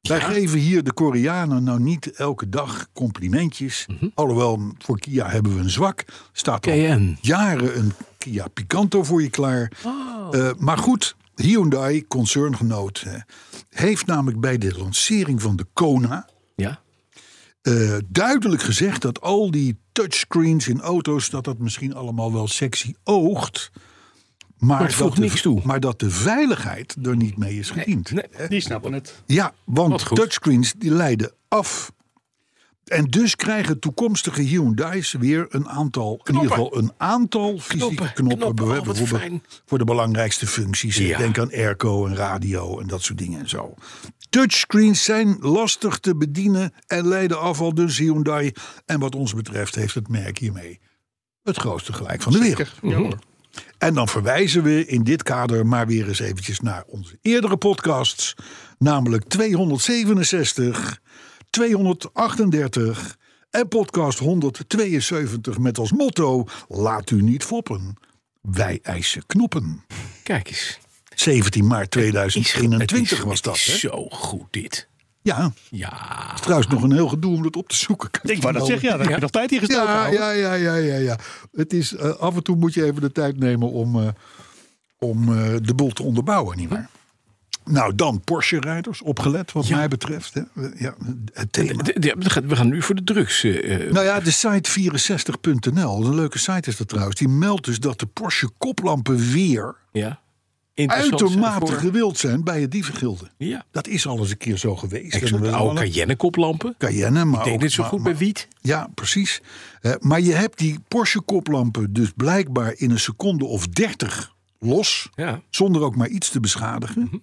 C: Wij geven hier de Koreanen nou niet elke dag complimentjes. Alhoewel, voor Kia hebben we een zwak. Staat al
B: KN.
C: jaren een Kia Picanto voor je klaar. Eh, maar goed, Hyundai, concerngenoot, eh, heeft namelijk bij de lancering van de Kona
B: Ja.
C: eh, duidelijk gezegd dat al die touchscreens in auto's, dat dat misschien allemaal wel sexy oogt. Maar,
B: het voegt
C: dat de,
B: niks toe.
C: Maar dat de veiligheid er niet mee is gediend.
D: Die snappen het.
C: Ja,
B: Wat
C: want
B: goed.
C: touchscreens die leiden af. En dus krijgen toekomstige Hyundai's weer een aantal, in ieder geval een aantal fysieke
B: Knoppen,
C: knoppen,
B: knoppen, oh, wat
C: bijvoorbeeld
B: fijn.
C: voor de belangrijkste functies.
B: Ja.
C: Denk aan airco en radio en dat soort dingen en zo. Touchscreens zijn lastig te bedienen en leiden af al dus Hyundai. En wat ons betreft heeft het merk hiermee het grootste gelijk van de wereld. En dan verwijzen we in dit kader maar weer eens eventjes naar onze eerdere podcasts. Namelijk 267, 238 en podcast 172 met als motto... Laat u niet foppen, wij eisen knoppen.
B: Kijk eens.
C: 17 maart
B: Het
C: 2021
B: is-
C: was
B: het
C: dat,
B: is
C: hè?
B: Zo goed dit.
C: Ja,
B: Ja.
C: trouwens nog een heel gedoe om dat op te zoeken.
D: Ik wou dat zeggen, ja, daar heb je nog tijd in gestoken.
C: Ja,
D: ouwe.
C: ja, ja, ja, ja, ja. Het is, eh, af en toe moet je even de tijd nemen om, eh, om eh, de boel te onderbouwen, nietwaar? Nou, dan Porsche-rijders, opgelet wat mij betreft. Hè. Ja, het thema.
B: D- d- we gaan- we gaan nu voor de drugs. eh, eh,
C: Nou ja, de site 64.nl, een leuke site is dat trouwens. Die meldt dus dat de Porsche-koplampen weer
B: ja. Interessant zijn
C: uitermate
B: voor-
C: gewild zijn bij het dievengilde.
B: Ja.
C: Dat is al eens een keer zo geweest.
B: Kijk, zo'n
C: En we
B: oude
C: alle-
B: Cayenne koplampen.
C: Cayenne, maar
B: Deed
C: ook-
B: dit zo
C: maar-
B: goed
C: maar-
B: bij wiet.
C: Ja, precies. Eh, maar je hebt die Porsche-koplampen dus blijkbaar in een seconde of dertig los.
B: Ja.
C: Zonder ook maar iets te beschadigen.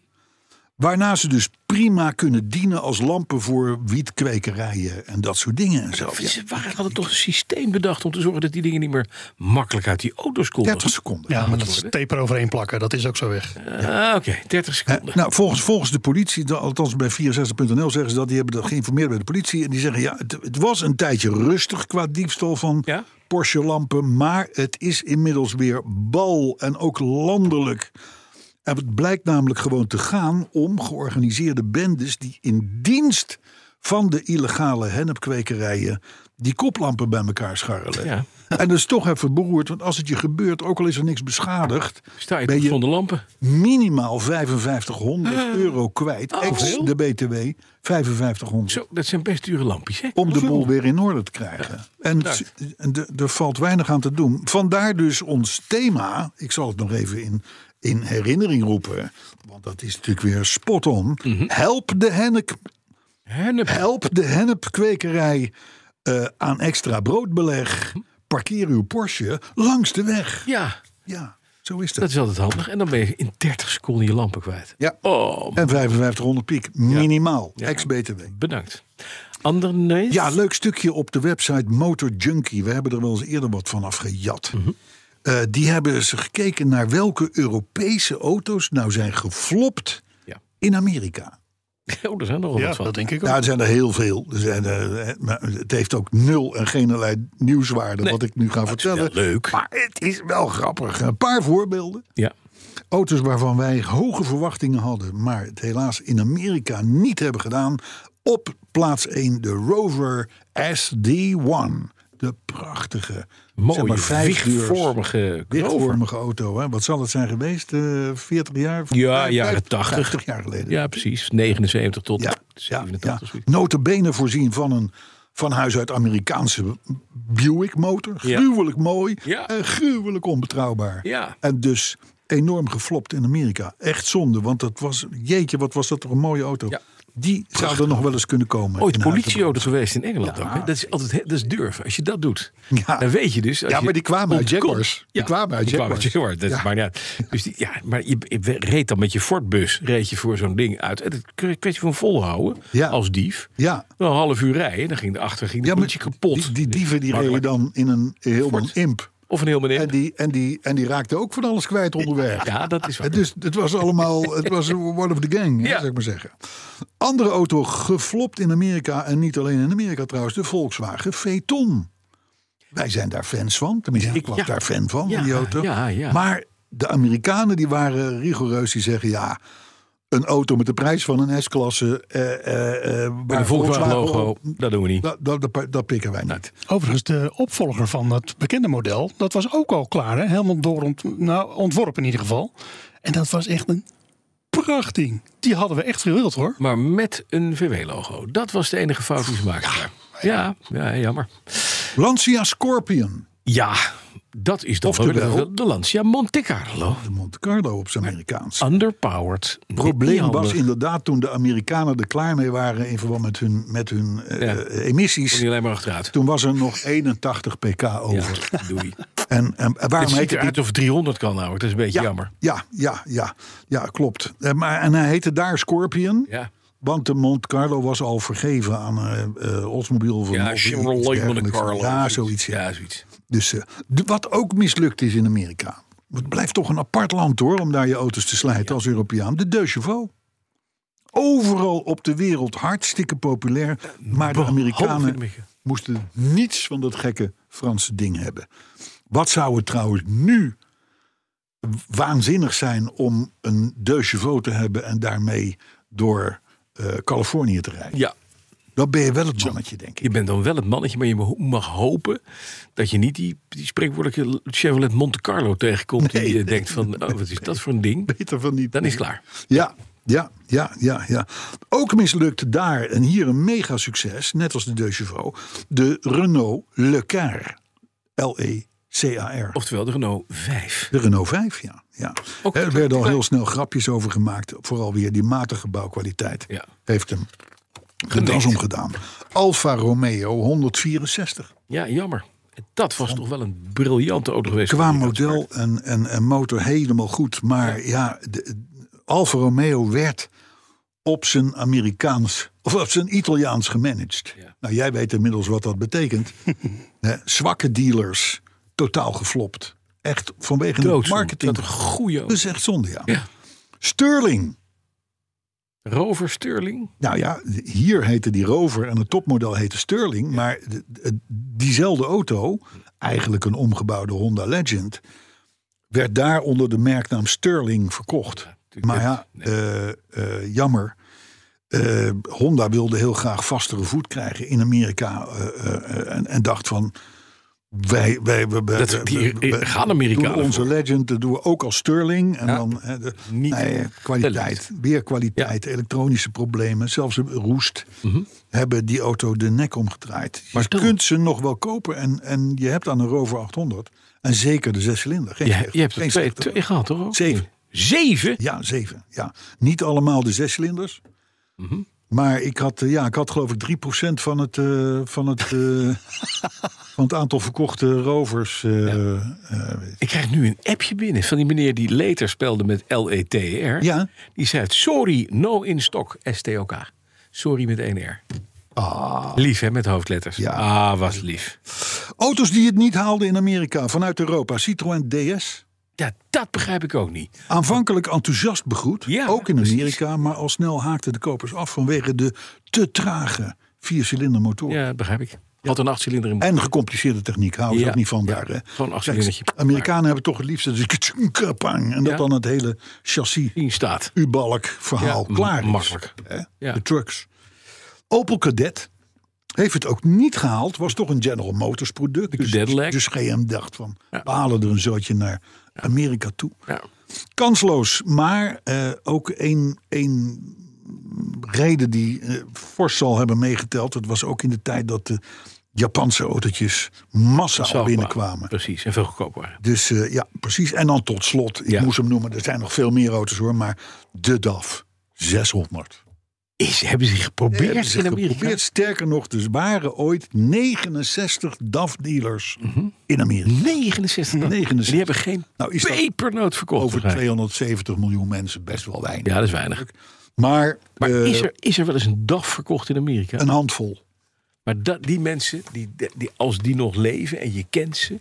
C: Waarna ze dus prima kunnen dienen als lampen voor wietkwekerijen en dat soort dingen en zo. Ja,
B: Ze waren, hadden toch een systeem bedacht om te zorgen dat die dingen niet meer makkelijk uit die auto's konden.
C: 30 seconden.
D: Ja, maar dat is tape eroverheen plakken, dat is ook zo weg.
B: Ah, Oké, 30
C: Hè,
B: seconden.
C: nou, volgens, volgens de politie, da- althans bij 64.nl zeggen ze dat, die hebben dat geïnformeerd bij de politie. En die zeggen, ja, het, het was een tijdje rustig qua diefstal van
B: Ja?
C: Porsche lampen. Maar het is inmiddels weer bal en ook landelijk. En het blijkt namelijk gewoon te gaan om georganiseerde bendes die in dienst van de illegale hennepkwekerijen die koplampen bij elkaar scharrelen.
B: Ja.
C: En dat is toch even beroerd, want als het je gebeurt, ook al is er niks beschadigd,
B: Sta je
C: ben
B: tot
C: je
B: zonder lampen?
C: minimaal 5500 euro kwijt.
B: oh,
C: ex
B: veel?
C: de BTW 5500.
B: Zo, dat zijn best dure lampjes, hè?
C: Om de boel weer in orde te krijgen. En s- en de- er valt weinig aan te doen. Vandaar dus ons thema. Ik zal het nog even in, in herinnering roepen. Want dat is natuurlijk weer spot on.
B: Mhm.
C: Help de hennep
B: Hennep.
C: Help de hennepkwekerij eh, aan extra broodbeleg. Parkeer uw Porsche langs de weg.
B: Ja,
C: Ja, zo is
B: dat is altijd handig. En dan ben je in 30 seconden je lampen kwijt.
C: Ja.
B: Oh,
C: En 5500 piek, minimaal, ex-BTW.
B: bedankt. Ander nee?
C: Ja, leuk stukje op de website Motor Junkie. We hebben er wel eens eerder wat van afgejat. Eh, die hebben ze gekeken naar welke Europese auto's nou zijn geflopt
B: Ja.
C: in Amerika.
B: Oh, er zijn er wel
D: Ja,
B: wat van.
D: dat denk ik ook.
C: Nou, er zijn er heel veel. Er zijn, eh, maar het heeft ook nul en geen allerlei nieuwswaarde wat ik nu ga vertellen.
B: leuk.
C: Maar het is wel grappig. Een paar voorbeelden.
B: Ja.
C: Auto's waarvan wij hoge verwachtingen hadden, maar het helaas in Amerika niet hebben gedaan. Op plaats 1 de Rover SD1. De prachtige,
B: Mooie,
C: zeg maar vijfdeurs,
B: wichtvormige Rover.
C: wichtvormige auto. Hè? Wat zal het zijn geweest? eh 40 jaar?
B: Ja,
C: Vijf-
B: jaren
C: vijf-
B: 80.
C: 50 jaar geleden.
B: Ja, precies. 79 tot
C: Ja, ja,
B: 87.
C: ja.
B: zoiets.
C: Notabene voorzien van een van huis uit Amerikaanse Buick motor.
B: Ja.
C: Gruwelijk mooi
B: Ja.
C: en gruwelijk onbetrouwbaar.
B: Ja.
C: En dus enorm geflopt in Amerika. Echt zonde, want dat was... Jeetje, wat was dat toch een mooie auto.
B: Ja.
C: Die zou er nog wel eens kunnen komen.
B: Ooit
C: in huis te
B: politieauto geweest in Engeland ook. Hè? Dat is altijd he- dat is durven. Als je dat doet,
C: Ja.
B: dan weet je dus. als
C: Ja,
B: je
C: maar die kwamen uit
B: ontkomt-
C: Jaguars. Die kwamen uit Jaguars.
B: Dat
C: Ja.
B: maakt niet uit. Dus die, ja, maar je, je reed dan met je Fordbus reed je voor zo'n ding uit. En het k- kwestie van volhouden
C: Ja.
B: als dief.
C: Ja.
B: Wel Een half uur rijden, dan ging de achter ging de
C: Ja, maar
B: politie kapot.
C: Die, die dieven die
B: Makkelijk.
C: reden dan in een helemaal imp.
B: Of een heel meneer.
C: En die, en, die, en die raakte ook van alles kwijt onderweg.
B: ja, dat is waar.
C: Het, dus, het was allemaal, het was one of the gang, hè,
B: Ja.
C: zou ik maar zeggen. Andere auto geflopt in Amerika, en niet alleen in Amerika trouwens, de Volkswagen Phaeton. Wij zijn daar fans van, tenminste ik was
B: Ja.
C: daar fan van,
B: Ja,
C: van die auto.
B: ja, ja.
C: Maar de Amerikanen die waren rigoureus, die zeggen ja... Een auto met de prijs van een S-klasse. eh, eh, eh,
B: Met
C: waar
B: een Volkswagen logo,
C: op-
B: dat doen we niet.
C: Dat, dat, dat, dat pikken wij niet.
D: Overigens, de opvolger van het bekende model, dat was ook al klaar. Hè? Helemaal door ont- nou, ontworpen in ieder geval. En dat was echt een prachting. Die hadden we echt gewild hoor.
B: Maar met een VW-logo. Dat was de enige fout die ze maakten. daar. Ja, ja, jammer.
C: Lancia Scorpion.
B: Ja, dat is dan wel
C: Oftewel-
B: weer de, de Lancia Monte Carlo.
C: De Monte Carlo op zijn Amerikaans.
B: Ah, Underpowered. Niet
C: probleem was
B: handig.
C: inderdaad toen de Amerikanen er klaar mee waren in verband met hun, met hun eh,
B: Ja.
C: eh,
B: Kon
C: emissies.
B: je alleen maar achteruit.
C: Toen was er nog 81 pk over.
B: Ja, (laughs) doei.
C: En, en, en waarom
B: het ziet
C: heette die-
B: eruit of 300 kan nou. Het is een beetje
C: Ja,
B: jammer.
C: Ja, ja, ja, ja, klopt. Eh, maar, en hij heette daar Scorpion.
B: Ja.
C: Want de Monte Carlo was al vergeven aan eh eh, Oldsmobile. Van
B: Ja,
C: Mobil, iets
B: Chevrolet Monte
C: dergelijks.
B: Carlo.
C: Ja, zoiets. Ja.
B: Ja, zoiets.
C: Dus, eh, d- wat ook mislukt is in Amerika. Het blijft toch een apart land hoor, om daar je auto's te slijten als Europeaan. De Deux Chevaux. Overal op de wereld hartstikke populair.
B: Eh,
C: Maar de
B: Halve
C: Amerikanen
B: Mieke.
C: moesten niets van dat gekke Franse ding hebben. Wat zou het trouwens nu waanzinnig zijn om een Deux Chevaux te hebben en daarmee door eh, Californië te rijden?
B: Ja,
C: Dan ben je wel het mannetje, denk ik.
B: je bent dan wel het mannetje, maar je mag- mag hopen dat je niet die, die spreekwoordelijke Chevrolet Monte Carlo tegenkomt. die je denkt van, oh, wat is dat voor een (laughs) ding?
C: Beter van niet.
B: Dan is het klaar.
C: Ja, ja, ja, ja, ja. Ook mislukt daar en hier een mega succes, net als de Deux Chevaux, de Renault E Lecar. L-E-C-A-R.
B: Oftewel de Renault 5.
C: De Renault 5, ja. ja.
B: Ook-
C: er werden al heel snel grapjes over gemaakt. Vooral weer die matige bouwkwaliteit.
B: Ja.
C: Heeft hem de das omgedaan. Alfa Romeo 164.
B: Ja, jammer. Dat was toch wel een briljante auto geweest.
C: Qua model en, en, en motor helemaal goed. Maar ja, de, Alfa Romeo werd op zijn Amerikaans of op zijn Italiaans gemanaged. Nou, jij weet inmiddels wat dat betekent. Hè, zwakke dealers, totaal geflopt. Echt vanwege de
B: Doodzonde.
C: marketing. Dus-
B: Dat is een goeie ook.
C: Dat is echt zonde, ja.
B: Ja.
C: Sterling.
B: Rover Sterling.
C: Nou ja, hier heette die Rover en het topmodel heette Sterling. Maar de- de- diezelfde auto, eigenlijk een omgebouwde Honda Legend... werd daar onder de merknaam Sterling verkocht. maar ja, eh, eh, jammer. Eh, Honda wilde heel graag vastere voet krijgen in Amerika. eh, eh, eh, en, en dacht van... Wij, wij, wij, wij-
B: Dat- die-
C: wij- wij-
B: gaan Amerikanen
C: doen Onze
B: voor.
C: legend dat doen we ook als Sterling. En dan hè, de-
B: niet
C: nee, kwaliteit. Weer kwaliteit, elektronische problemen, zelfs een roest. Hebben die auto de nek omgedraaid. Je
B: Mhm. Maar toch-
C: kunt ze nog wel kopen en, en je hebt aan een Rover 800. En zeker de zescilinder. Geen
B: Ja,
C: slechte-
B: je hebt er
C: geen
B: twee,
C: slechte-
B: twee gehad, toch? ook?
C: Zeven.
B: Zeven?
C: Ja, zeven. Ja. Niet allemaal de zescilinders.
B: Mhm.
C: Maar ik had, eh, ja, ik had geloof ik 3% van het, eh, van, het, eh, (laughs) van het aantal verkochte rovers. eh, eh,
B: Ik krijg nu een appje binnen van die meneer die later spelde met L-E-T-R.
C: Ja.
B: Die zei, sorry, no in stock, S-T-O-K. Sorry met één R. Lief, hè, met hoofdletters.
C: Ah. Ja.
B: Ah, was lief.
C: Auto's die het niet haalden in Amerika vanuit Europa. Citroën DS.
B: Ja, dat begrijp ik ook niet.
C: Aanvankelijk enthousiast begroet,
B: Ja,
C: ook in
B: precies.
C: Amerika, maar al snel haakten de kopers af vanwege de te trage viercilinder motor.
B: Ja, dat begrijp ik. Had een achtcilinder in.
C: En gecompliceerde techniek, houden ze
B: Ja,
C: ook niet van
B: ja.
C: daar. hè.
B: Gewoon een
C: Kijk,
B: achtcilindertje.
C: Amerikanen hebben toch het liefst dat ze (laughs) ktsjoen, kapang, en dat
B: Ja.
C: dan het hele chassis,
B: Die staat.
C: U-balk verhaal
B: Ja,
C: klaar is.
B: makkelijk.
C: Hè?
B: Ja.
C: De trucks. Opel Cadet heeft het ook niet gehaald, was toch een General Motors product. Dus,
B: cadet lag.
C: dus GM dacht van, we halen er een zootje naar Amerika toe.
B: Ja.
C: kansloos. Maar eh, ook één, één reden die eh, fors zal hebben meegeteld. Dat was ook in de tijd dat de Japanse autootjes massaal
B: Zo,
C: binnenkwamen.
B: Precies, en veel goedkoper waren.
C: Dus eh, ja, precies. En dan tot slot, ik
B: Ja.
C: moest hem noemen. Er zijn nog veel meer auto's hoor, maar de DAF 600.
B: Is, hebben ze geprobeerd
C: Hebben ze
B: in Amerika?
C: geprobeerd. Sterker nog, er waren ooit 69 DAF-dealers
B: Mhm.
C: in Amerika.
B: 69. dan.
C: 69.
B: En Die hebben geen
C: Nou, is dat
B: pepernoot verkocht.
C: Over
B: begrijp ik.
C: 270 miljoen mensen best wel weinig.
B: Ja, dat is weinig.
C: Maar,
B: Maar
C: eh,
B: is, er, is er wel eens een dag verkocht in Amerika?
C: een handvol.
B: Maar dat, die mensen, die, die, als die nog leven en je kent ze,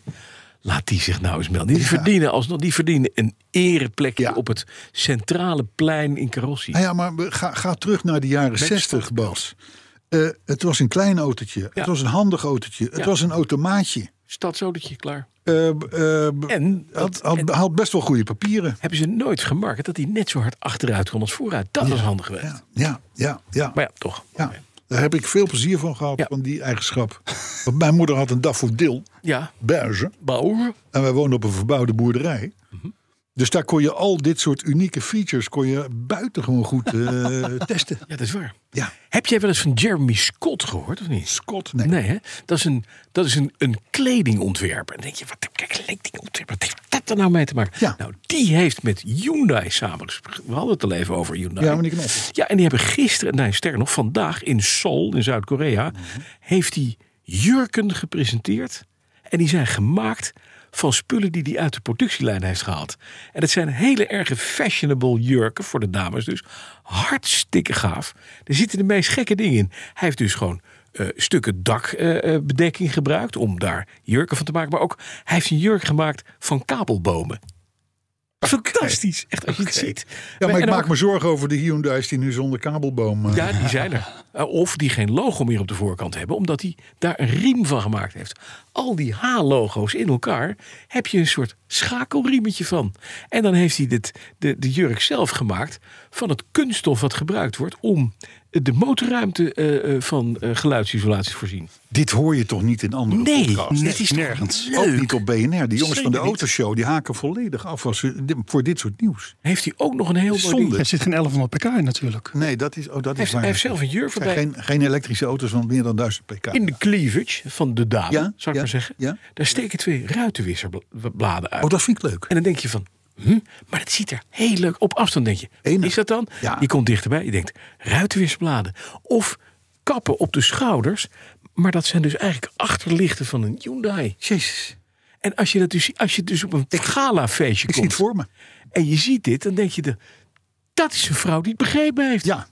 B: laat die zich nou eens melden. Die, verdienen, alsnog, die verdienen een ereplekje
C: Ja.
B: op het centrale plein in Carrossi.
C: Nou ja, maar we- ga, ga terug naar de jaren 60, Bas. Eh, het was een klein autootje. Het was een handig autootje. Het
B: Ja.
C: was een automaatje.
B: Stadsodertje, klaar. Oh,
C: Eh, eh, b-
B: En,
C: had,
B: dat,
C: had,
B: en
C: had best wel goede papieren.
B: hebben ze nooit gemerkt dat hij net zo hard achteruit kon als vooruit. Dat was handig geweest.
C: Ja, ja, ja. ja,
B: Maar ja, toch.
C: ja. Daar heb ik veel plezier van gehad,
B: Ja.
C: van die eigenschap. Want mijn moeder had een daffodil,
B: Ja,
C: beige.
B: bouwen.
C: En wij woonden op een verbouwde boerderij.
B: Mhm.
C: Dus daar kon je al dit soort unieke features kon je buitengewoon goed
B: (laughs)
C: eh, testen.
B: Ja, dat is waar.
C: Ja.
B: Heb jij wel eens van Jeremy Scott gehoord, of niet?
C: Scott, nee.
B: Nee, hè? dat is een, dat is een, een kledingontwerper. En dan denk je, wat een kledingontwerper, wat heeft dat er nou mee te maken?
C: Ja.
B: Nou, die heeft met Hyundai samen, gesproken. we hadden het al even over Hyundai.
C: Ja, maar die knop.
B: Ja, en die hebben gisteren, nee, sterker nog, vandaag in Seoul in Zuid-Korea, heeft hij jurken gepresenteerd. En die zijn gemaakt van spullen die hij uit de productielijn heeft gehaald. En dat zijn hele erg fashionable jurken, voor de dames dus. Hartstikke gaaf. Er zitten de meest gekke dingen in. Hij heeft dus gewoon eh, stukken dakbedekking gebruikt om daar jurken van te maken. Maar ook, hij heeft een jurk gemaakt van kabelbomen. Fantastisch, echt als je het ziet.
C: Ja, maar
B: En
C: ik
B: ook-
C: maak me zorgen over de Hyundai's die nu zonder kabelboom... eh,
B: ja, die zijn er. Eh, Of die geen logo meer op de voorkant hebben, omdat hij daar een riem van gemaakt heeft. Al die H-logo's in elkaar heb je een soort schakelriemetje van. En dan heeft hij dit, de, de jurk zelf gemaakt van het kunststof wat gebruikt wordt om de motorruimte eh, eh, van eh, geluidsisolatie te voorzien.
C: Dit hoor je toch niet in andere
B: Nee,
C: podcasts?
B: dit is nergens.
C: Ook niet op BNR. Die jongens
B: Zeker
C: van de
B: niet.
C: autoshow die haken volledig af als ze- di- voor dit soort nieuws.
B: Heeft hij ook nog een heel mooi
C: Zonde.
B: ding.
D: Er zit geen 1100 pk in natuurlijk.
C: Nee, dat is, oh, dat
B: Hij
C: is
B: heeft,
C: waar.
B: hij heeft zelf een jurk
C: Het zijn
B: voorbij.
C: geen, geen elektrische auto's van meer dan 1000 pk.
B: In de cleavage van de dame,
C: Ja,
B: zou ik
C: ja,
B: maar zeggen.
C: ja.
B: Daar steken twee ruitenwisserbladen uit.
C: Oh, dat vind ik leuk.
B: En dan denk je van, hm, maar het ziet er heel leuk op afstand, denk je.
C: Enig.
B: Is dat dan?
C: Ja.
B: Je komt dichterbij, je denkt, ruitenwisselbladen. Of kappen op de schouders. Maar dat zijn dus eigenlijk achterlichten van een Hyundai.
C: Jezus,
B: En als je, dat dus, als je dus op een galafeestje
C: ik zie het
B: komt
C: voor me.
B: en je ziet dit, dan denk je, de, dat is een vrouw die het begrepen heeft.
C: Ja.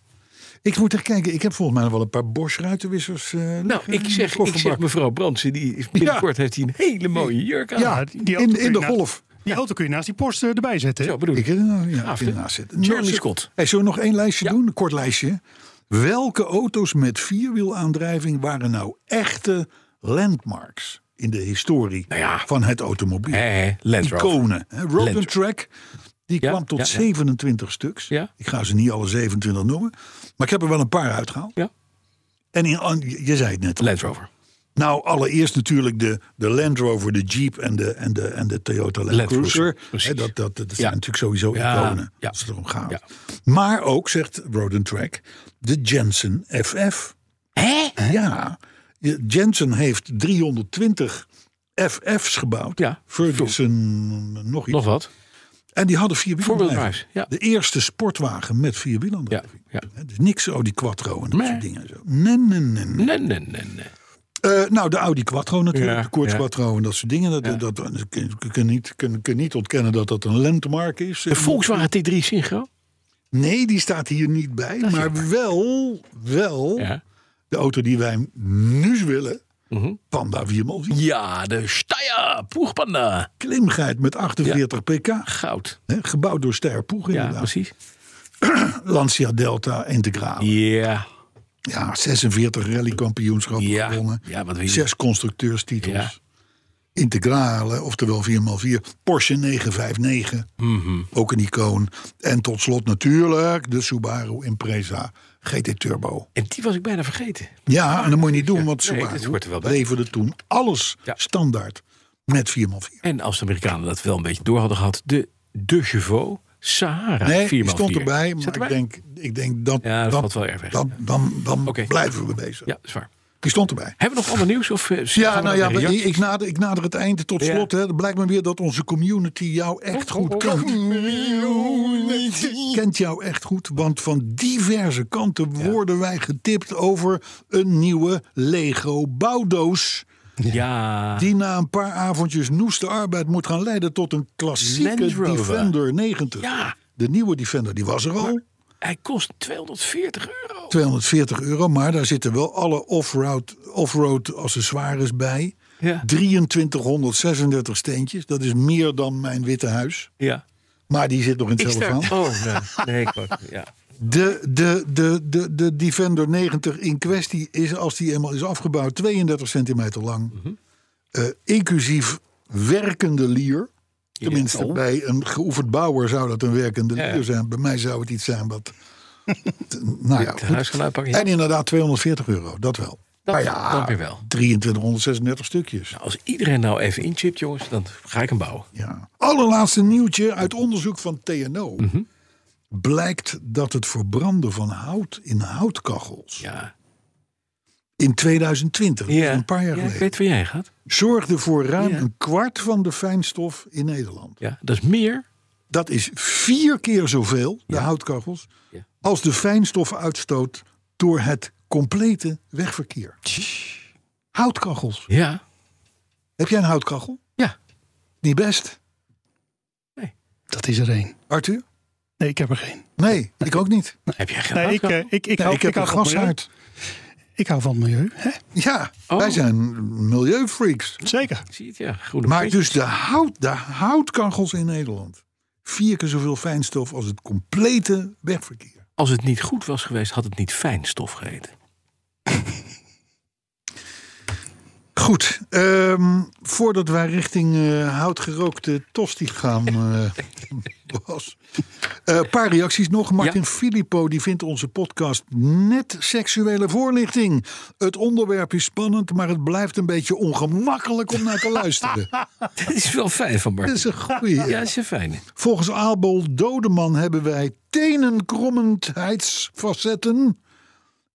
C: Ik moet echt kijken. Ik heb volgens mij nog wel een paar Bosch ruitenwissers. eh, (laughs)
B: Nou,
C: liggen in
B: ik
C: de
B: zeg, ik
C: kofferbak.
B: zeg mevrouw Brandsen, die is- binnenkort heeft hij een hele mooie jurk aan.
C: ja,
D: Ja, die- die
C: in,
D: auto
C: in
D: kun
C: de
D: je
C: golf.
D: Die auto kun je naast die Porsche eh, erbij zetten. hè?
B: Zo bedoel
C: Ik
B: ik.
C: eh, nou, ja,
B: Gaaf,
C: ik vind
B: hè?
C: ernaast zitten.
B: Charlie
C: Nou, ze-
B: Ah, Scott.
C: Hey, zullen we nog één lijstje
B: Ja.
C: doen? Een kort lijstje. Welke auto's met vierwielaandrijving waren nou echte landmarks in de historie
B: Nou ja.
C: van het automobiel?
B: Hé, hé, Eh, Land Rover.
C: Iconen. hè? Road
B: Land
C: and Track. Die
B: Ja,
C: kwam tot
B: ja, ja.
C: 27 stuks.
B: Ja.
C: Ik ga ze niet alle 27 noemen. Maar ik heb er wel een paar uitgehaald.
B: Ja.
C: En in, an- je je zei het net al.
B: Land Rover.
C: Nou, allereerst natuurlijk de, de Land Rover, de Jeep en de, en de, en de Toyota Land,
B: Land Cruiser,
C: Cruiser.
B: precies.
C: Hè, dat, dat, dat zijn
B: Ja.
C: natuurlijk sowieso
B: Ja,
C: iconen
B: ja.
C: als het erom gaat.
B: Ja.
C: Maar ook, zegt Road Track, de Jensen FF. Hè? Ja, Je- Jensen heeft 320 FF's gebouwd.
B: Ja.
C: Ferguson, nog iets.
B: Nog wat?
C: En die hadden
B: Voorwielaandrijving, ja.
C: vierwielaandrijving. De eerste sportwagen met
B: Ja.
C: vierwielaandrijving.
B: ja.
C: Hè, Dus niks zo die Quattro en dat
B: Nee.
C: soort dingen. en Zo. Nee, nee, nee, nee.
B: Nee, nee, nee, nee.
C: Eh, nou, de Audi Quattro natuurlijk,
B: Ja,
C: de Koorts
B: ja.
C: Quattro en dat soort dingen. Dat,
B: Ja.
C: dat, kun, kun niet, kun, kun niet ontkennen dat dat een landmark is.
B: De Volkswagen T3 Synchro?
C: Nee, die staat hier niet bij. maar wel, wel
B: Ja.
C: de auto die wij nu willen.
B: Mhm.
C: Panda 4x4.
B: Ja, de Steyr Poegpanda.
C: Klimgeit met 48 pk.
B: Goud.
C: Hè, gebouwd door Ster Poeg
B: Ja,
C: inderdaad.
B: precies.
C: Lancia Delta Integraal.
B: Ja.
C: Ja, 46 rallykampioenschappen
B: Ja.
C: gewonnen.
B: Ja, wat wil je?
C: Zes constructeurstitels.
B: Ja.
C: Integrale, oftewel 4x4. Porsche 959,
B: Mhm.
C: ook een icoon. En tot slot natuurlijk de Subaru Impreza GT Turbo.
B: En die was ik bijna vergeten.
C: Ja, en dat moet je niet doen, want
B: Nee,
C: Subaru
B: dit hoort er wel bij.
C: leverde toen alles
B: Ja.
C: standaard met 4x4.
B: En als de Amerikanen dat wel een beetje door hadden gehad, de De Chevaux Sahara.
C: Nee,
B: 4x4.
C: die stond erbij,
B: Zat
C: maar ik denk, ik denk dat,
B: Ja, dat
C: dan,
B: valt wel erg weg.
C: dan, dan, dan
B: Oké.
C: blijven we bezig.
B: Ja, zwaar.
C: Die stond erbij.
B: Hebben we nog ander nieuws? Of, eh,
C: Ja,
B: gaan we naar
C: nou ja,
B: de
C: maar
B: reacties?
C: ik nader, ik nader het einde tot
B: Ja.
C: slot. Hè. Het blijkt me weer dat onze community jou echt goed kent. Kent jou echt goed, want van diverse kanten worden wij getipt over een nieuwe Lego bouwdoos.
B: Ja.
C: Die na een paar avondjes noeste arbeid moet gaan leiden tot een klassieke
B: Land Rover.
C: Defender 90.
B: Ja.
C: De nieuwe Defender, die was er al.
B: Hij kost 240 euro.
C: 240 euro, maar daar zitten wel alle off-road off accessoires bij.
B: Ja.
C: 2336 steentjes, dat is meer dan mijn witte huis.
B: Ja.
C: Maar die zit nog in
B: Ik
C: hetzelfde
B: sta-
C: verhaal.
B: Oh, nee. nee ik wou- ja.
C: De, de, de, de, de Defender 90 in kwestie is, als die eenmaal is afgebouwd, 32 centimeter lang.
B: Mhm.
C: Eh, inclusief werkende lier. Tenminste,
B: Oh.
C: bij een geoefend bouwer zou dat een werkende
B: Ja.
C: lier zijn. Bij mij zou het iets
B: (laughs)
C: zijn wat... nou ja,
B: Het
C: goed.
B: huis gaan uitpakken. ja.
C: En inderdaad 240 euro, dat wel.
B: Dat-
C: maar ja,
B: dat weer wel.
C: 2336 stukjes.
B: Als iedereen nou even inchipt, jongens, dan ga ik hem bouwen.
C: Ja. Allerlaatste nieuwtje uit onderzoek van TNO.
B: Mhm.
C: Blijkt dat het verbranden van hout in houtkachels
B: Ja.
C: in 2020, dus
B: ja.
C: een paar jaar
B: Ja, ik
C: geleden,
B: weet waar jij gaat.
C: zorgde voor ruim
B: Ja.
C: een kwart van de fijnstof in Nederland.
B: Ja. Dat is meer.
C: Dat is vier keer zoveel, de houtkachels,
B: Ja.
C: als de fijnstofuitstoot door het complete wegverkeer. Houtkachels.
B: Ja.
C: Heb jij een houtkachel?
B: Ja.
C: Niet best.
D: Dat is er één.
C: Arthur?
D: Nee, ik heb er geen.
C: Nee, ik ook niet.
B: Heb jij geen
D: Nee, ik,
B: houtkachel?
D: eh, ik, ik,
C: Nee,
D: hou,
C: ik heb
D: hou
C: een
D: van het milieu.
C: gashaard.
D: Ik hou van het milieu. Hè?
C: Ja,
B: Oh.
C: wij zijn milieufreaks.
D: Zeker.
B: Zie je het? Ja. Groene
C: Maar
B: petje.
C: dus de, hout, de houtkachels in Nederland. Vier keer zoveel fijnstof als het complete wegverkeer.
B: Als het niet goed was geweest, had het niet fijnstof geheten.
C: Goed, ehm, voordat wij richting eh, houtgerookte tosti gaan, eh (laughs) Bas. Eh, Een paar reacties nog. Martin Filippo die vindt onze podcast net seksuele voorlichting. Het onderwerp is spannend, maar het blijft een beetje ongemakkelijk om naar te luisteren.
B: (laughs) Dat is wel fijn van
C: Dat
B: Bart.
C: is een goeie.
B: Ja, dat is een fijne.
C: Volgens Abel Dodeman hebben wij tenenkrommendheidsfacetten.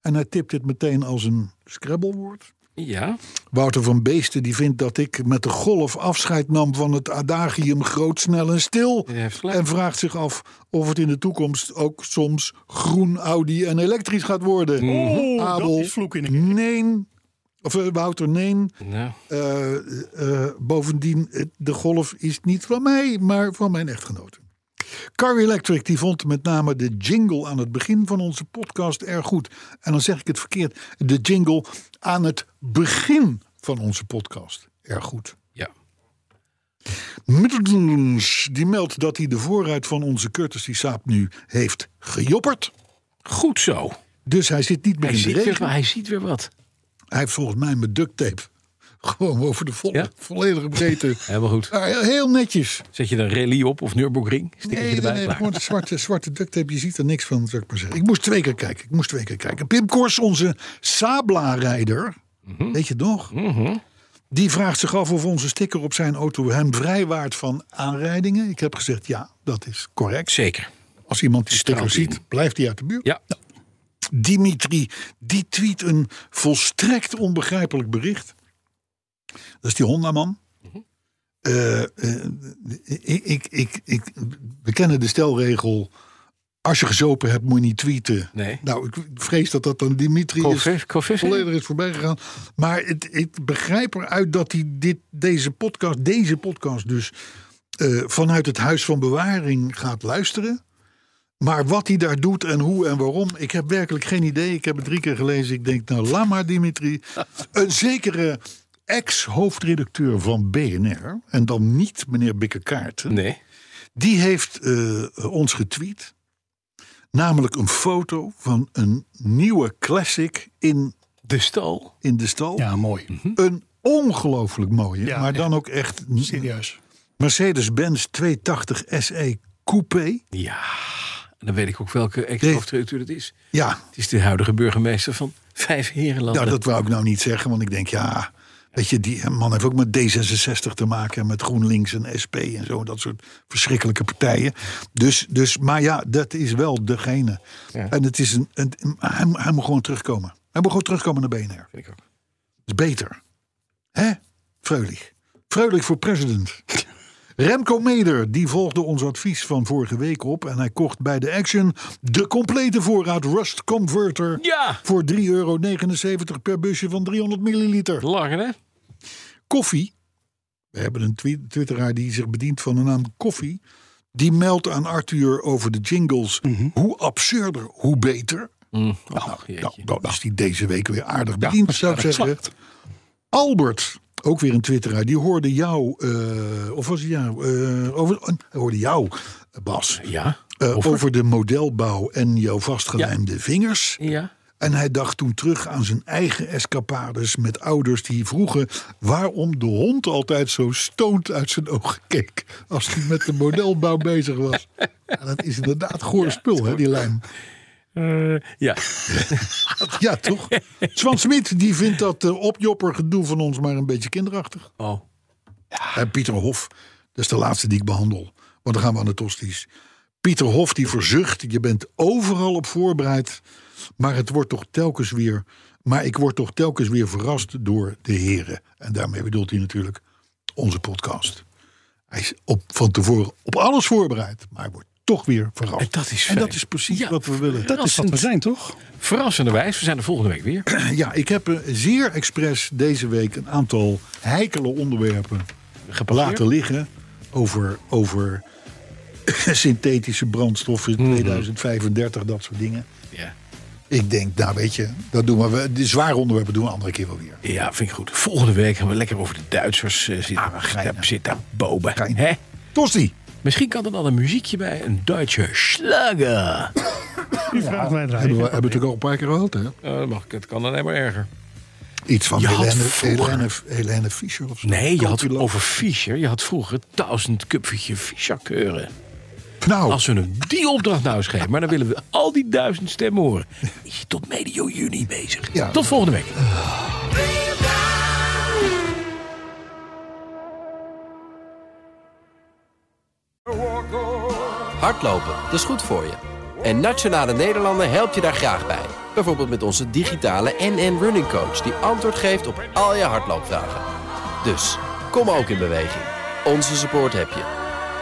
C: En hij tipt dit meteen als een scrabblewoord.
B: Ja.
C: Wouter van Beesten die vindt dat ik met de golf afscheid nam van het adagium groot, snel en stil.
B: Hij heeft gelijk.
C: En vraagt zich af of het in de toekomst ook soms groen, Audi en elektrisch gaat worden.
D: Oeh,
C: Abel,
D: Oh, dat is vloek in de
C: nee. Of eh, Wouter, nee.
B: Nou,
C: Eh, eh, bovendien, eh, de golf is niet van mij, maar van mijn echtgenote. Car Electric die vond met name de jingle aan het begin van onze podcast erg goed. En dan zeg ik het verkeerd. De jingle aan het begin van onze podcast erg goed.
B: Ja.
C: Middens, die meldt dat hij de voorruit van onze Curtis die Saab nu heeft gejopperd.
B: Goed zo.
C: Dus hij zit niet meer
B: Hij
C: in de
B: ziet, weer,
C: regen.
B: hij ziet weer wat.
C: Hij heeft volgens mij met duct tape gewoon over de volle,
B: Ja?
C: volledige
B: (laughs)
C: breedte.
B: Helemaal goed.
C: Maar heel netjes.
B: Zet je dan rally op of Nürburgring? Stik je
C: Nee,
B: erbij?
C: nee, nee,
B: Klaar.
C: gewoon de zwarte, zwarte duct tape. Je ziet er niks van, zou ik maar zeggen. Ik moest twee keer kijken. Ik moest twee keer kijken. Pim Kors, onze Sabla-rijder,
B: Mhm.
C: weet je het nog? Die vraagt zich af of onze sticker op zijn auto hem vrijwaart van aanrijdingen. Ik heb gezegd, ja, dat is correct.
B: Zeker.
C: Als iemand die sticker
B: Straalt in.
C: ziet, blijft hij uit de buurt.
B: Ja.
C: Dimitri, die tweet een volstrekt onbegrijpelijk bericht. Dat is die Honda-man. Eh, eh, ik, ik, ik, ik, we kennen de stelregel. Als je gezopen hebt, moet je niet tweeten.
B: Nee.
C: Nou, ik vrees dat dat dan Dimitri is.
B: Corvus- Corvus, hè?
C: Volledig is voorbij gegaan. Maar het, ik begrijp eruit dat hij dit, deze, podcast, deze podcast dus eh, vanuit het Huis van Bewaring gaat luisteren. Maar wat hij daar doet en hoe en waarom, ik heb werkelijk geen idee. Ik heb het drie keer gelezen. Ik denk, nou, laat maar, Dimitri. Een zekere ex-hoofdredacteur van BNR, en dan niet meneer Bikkekaarten,
B: Nee.
C: die heeft eh, ons getweet. Namelijk een foto van een nieuwe classic in,
B: De stal.
C: in de stal.
D: Ja, mooi.
C: Een ongelooflijk mooie,
D: Ja,
C: maar dan ook echt
D: Serieus.
C: Mercedes-Benz 280 SE E Coupé.
B: Ja. En dan weet ik ook welke
C: Nee.
B: ex-hoofdredacteur het is.
C: Ja,
B: Het is de huidige burgemeester van Vijf Herenlanden.
C: Nou, dat wou ik nou niet zeggen, want ik denk, ja, weet je, die man heeft ook met D66 te maken en met GroenLinks en SP en zo, dat soort verschrikkelijke partijen. Dus, dus maar ja, dat is wel degene. En het is een, een- hij, moet- hij moet gewoon terugkomen. Hij moet gewoon terugkomen naar BNR.
B: Vind ik ook.
C: Dat is beter. Hè? Freulich. Freulich voor
B: (laughs)
C: president. Remco Meder, die volgde ons advies van vorige week op. En hij kocht bij de Action de complete voorraad Rust Converter.
B: Ja.
C: Voor 3,79 euro per busje van 300 milliliter.
B: Langer, hè?
C: Koffie. We hebben een twi- twitteraar die zich bedient van de naam Koffie. Die meldt aan Arthur over de jingles. Hoe absurder, hoe beter.
B: Oh,
C: Nou,
B: jeetje.
C: dat is die deze week weer aardig bediend, zou ik zeggen. Albert, ook weer een twitteraar, die hoorde jou, eh, of was het jou, eh, over, eh, hij hoorde jou, Bas,
B: Ja.
C: eh,
B: over?
C: over de modelbouw en jouw vastgelijmde vingers.
B: Ja.
C: En hij dacht toen terug aan zijn eigen escapades met ouders die vroegen waarom de hond altijd zo stoont uit zijn ogen keek als hij met de modelbouw bezig was. Ja, dat is inderdaad goor spul, hè, die lijm.
B: Eh, ja.
C: Ja, toch? Swan Smit die vindt dat eh, opjopper gedoe van ons maar een beetje kinderachtig.
B: Oh.
C: En Pieter Hof, dat is de laatste die ik behandel. Want dan gaan we aan de tosties. Pieter Hof die verzucht, je bent overal op voorbereid. Maar het wordt toch telkens weer. Maar ik word toch telkens weer verrast door de heren. En daarmee bedoelt hij natuurlijk onze podcast. Hij is op, van tevoren op alles voorbereid, maar hij wordt toch weer verrast.
B: En dat is
C: en
B: fijn.
C: dat is precies
B: Ja,
C: wat we willen.
D: Dat is wat we zijn, toch?
B: Verrassenderwijs, we zijn er volgende week weer.
C: Ja, ik heb eh, zeer expres deze week een aantal heikele onderwerpen laten liggen. Over, over (coughs) synthetische brandstoffen, 2035, dat soort dingen.
B: Ja.
C: Ik denk, nou weet je, dat doen we- we. De zware onderwerpen doen we een andere keer wel weer.
B: Ja, vind ik goed. Volgende week gaan we lekker over de Duitsers eh, zitten.
C: Ah, geinig.
B: daar zit daar boven.
C: Geinig.
B: Hè?
C: Tosti,
B: Misschien kan er dan een muziekje bij. Een Duitse slager.
D: Die vraag wij
C: hebben we,
D: draaien.
C: hebben we natuurlijk al een paar keer gehad, hè?
B: dat Eh, mag ik. Het kan alleen maar erger.
C: Iets van
B: Je had
C: Helene,
B: vroeger-
C: Helene, Helene Fischer of zo.
B: Nee, je had
C: Koopje
B: het
C: lopen.
B: over Fischer. Je had vroeger duizend kupfertje Fischer-keuren.
C: Nou,
B: Als we hem die opdracht nou eens geven. Maar dan willen we al die duizend stemmen (laughs) horen. Is je tot medio juni bezig.
C: Ja.
B: Tot volgende week.
H: Hardlopen, dat is goed voor je. En Nationale Nederlanden helpt je daar graag bij. Bijvoorbeeld met onze digitale NN Running Coach... die antwoord geeft op al je hardloopvragen. Dus, kom ook in beweging. Onze support heb je.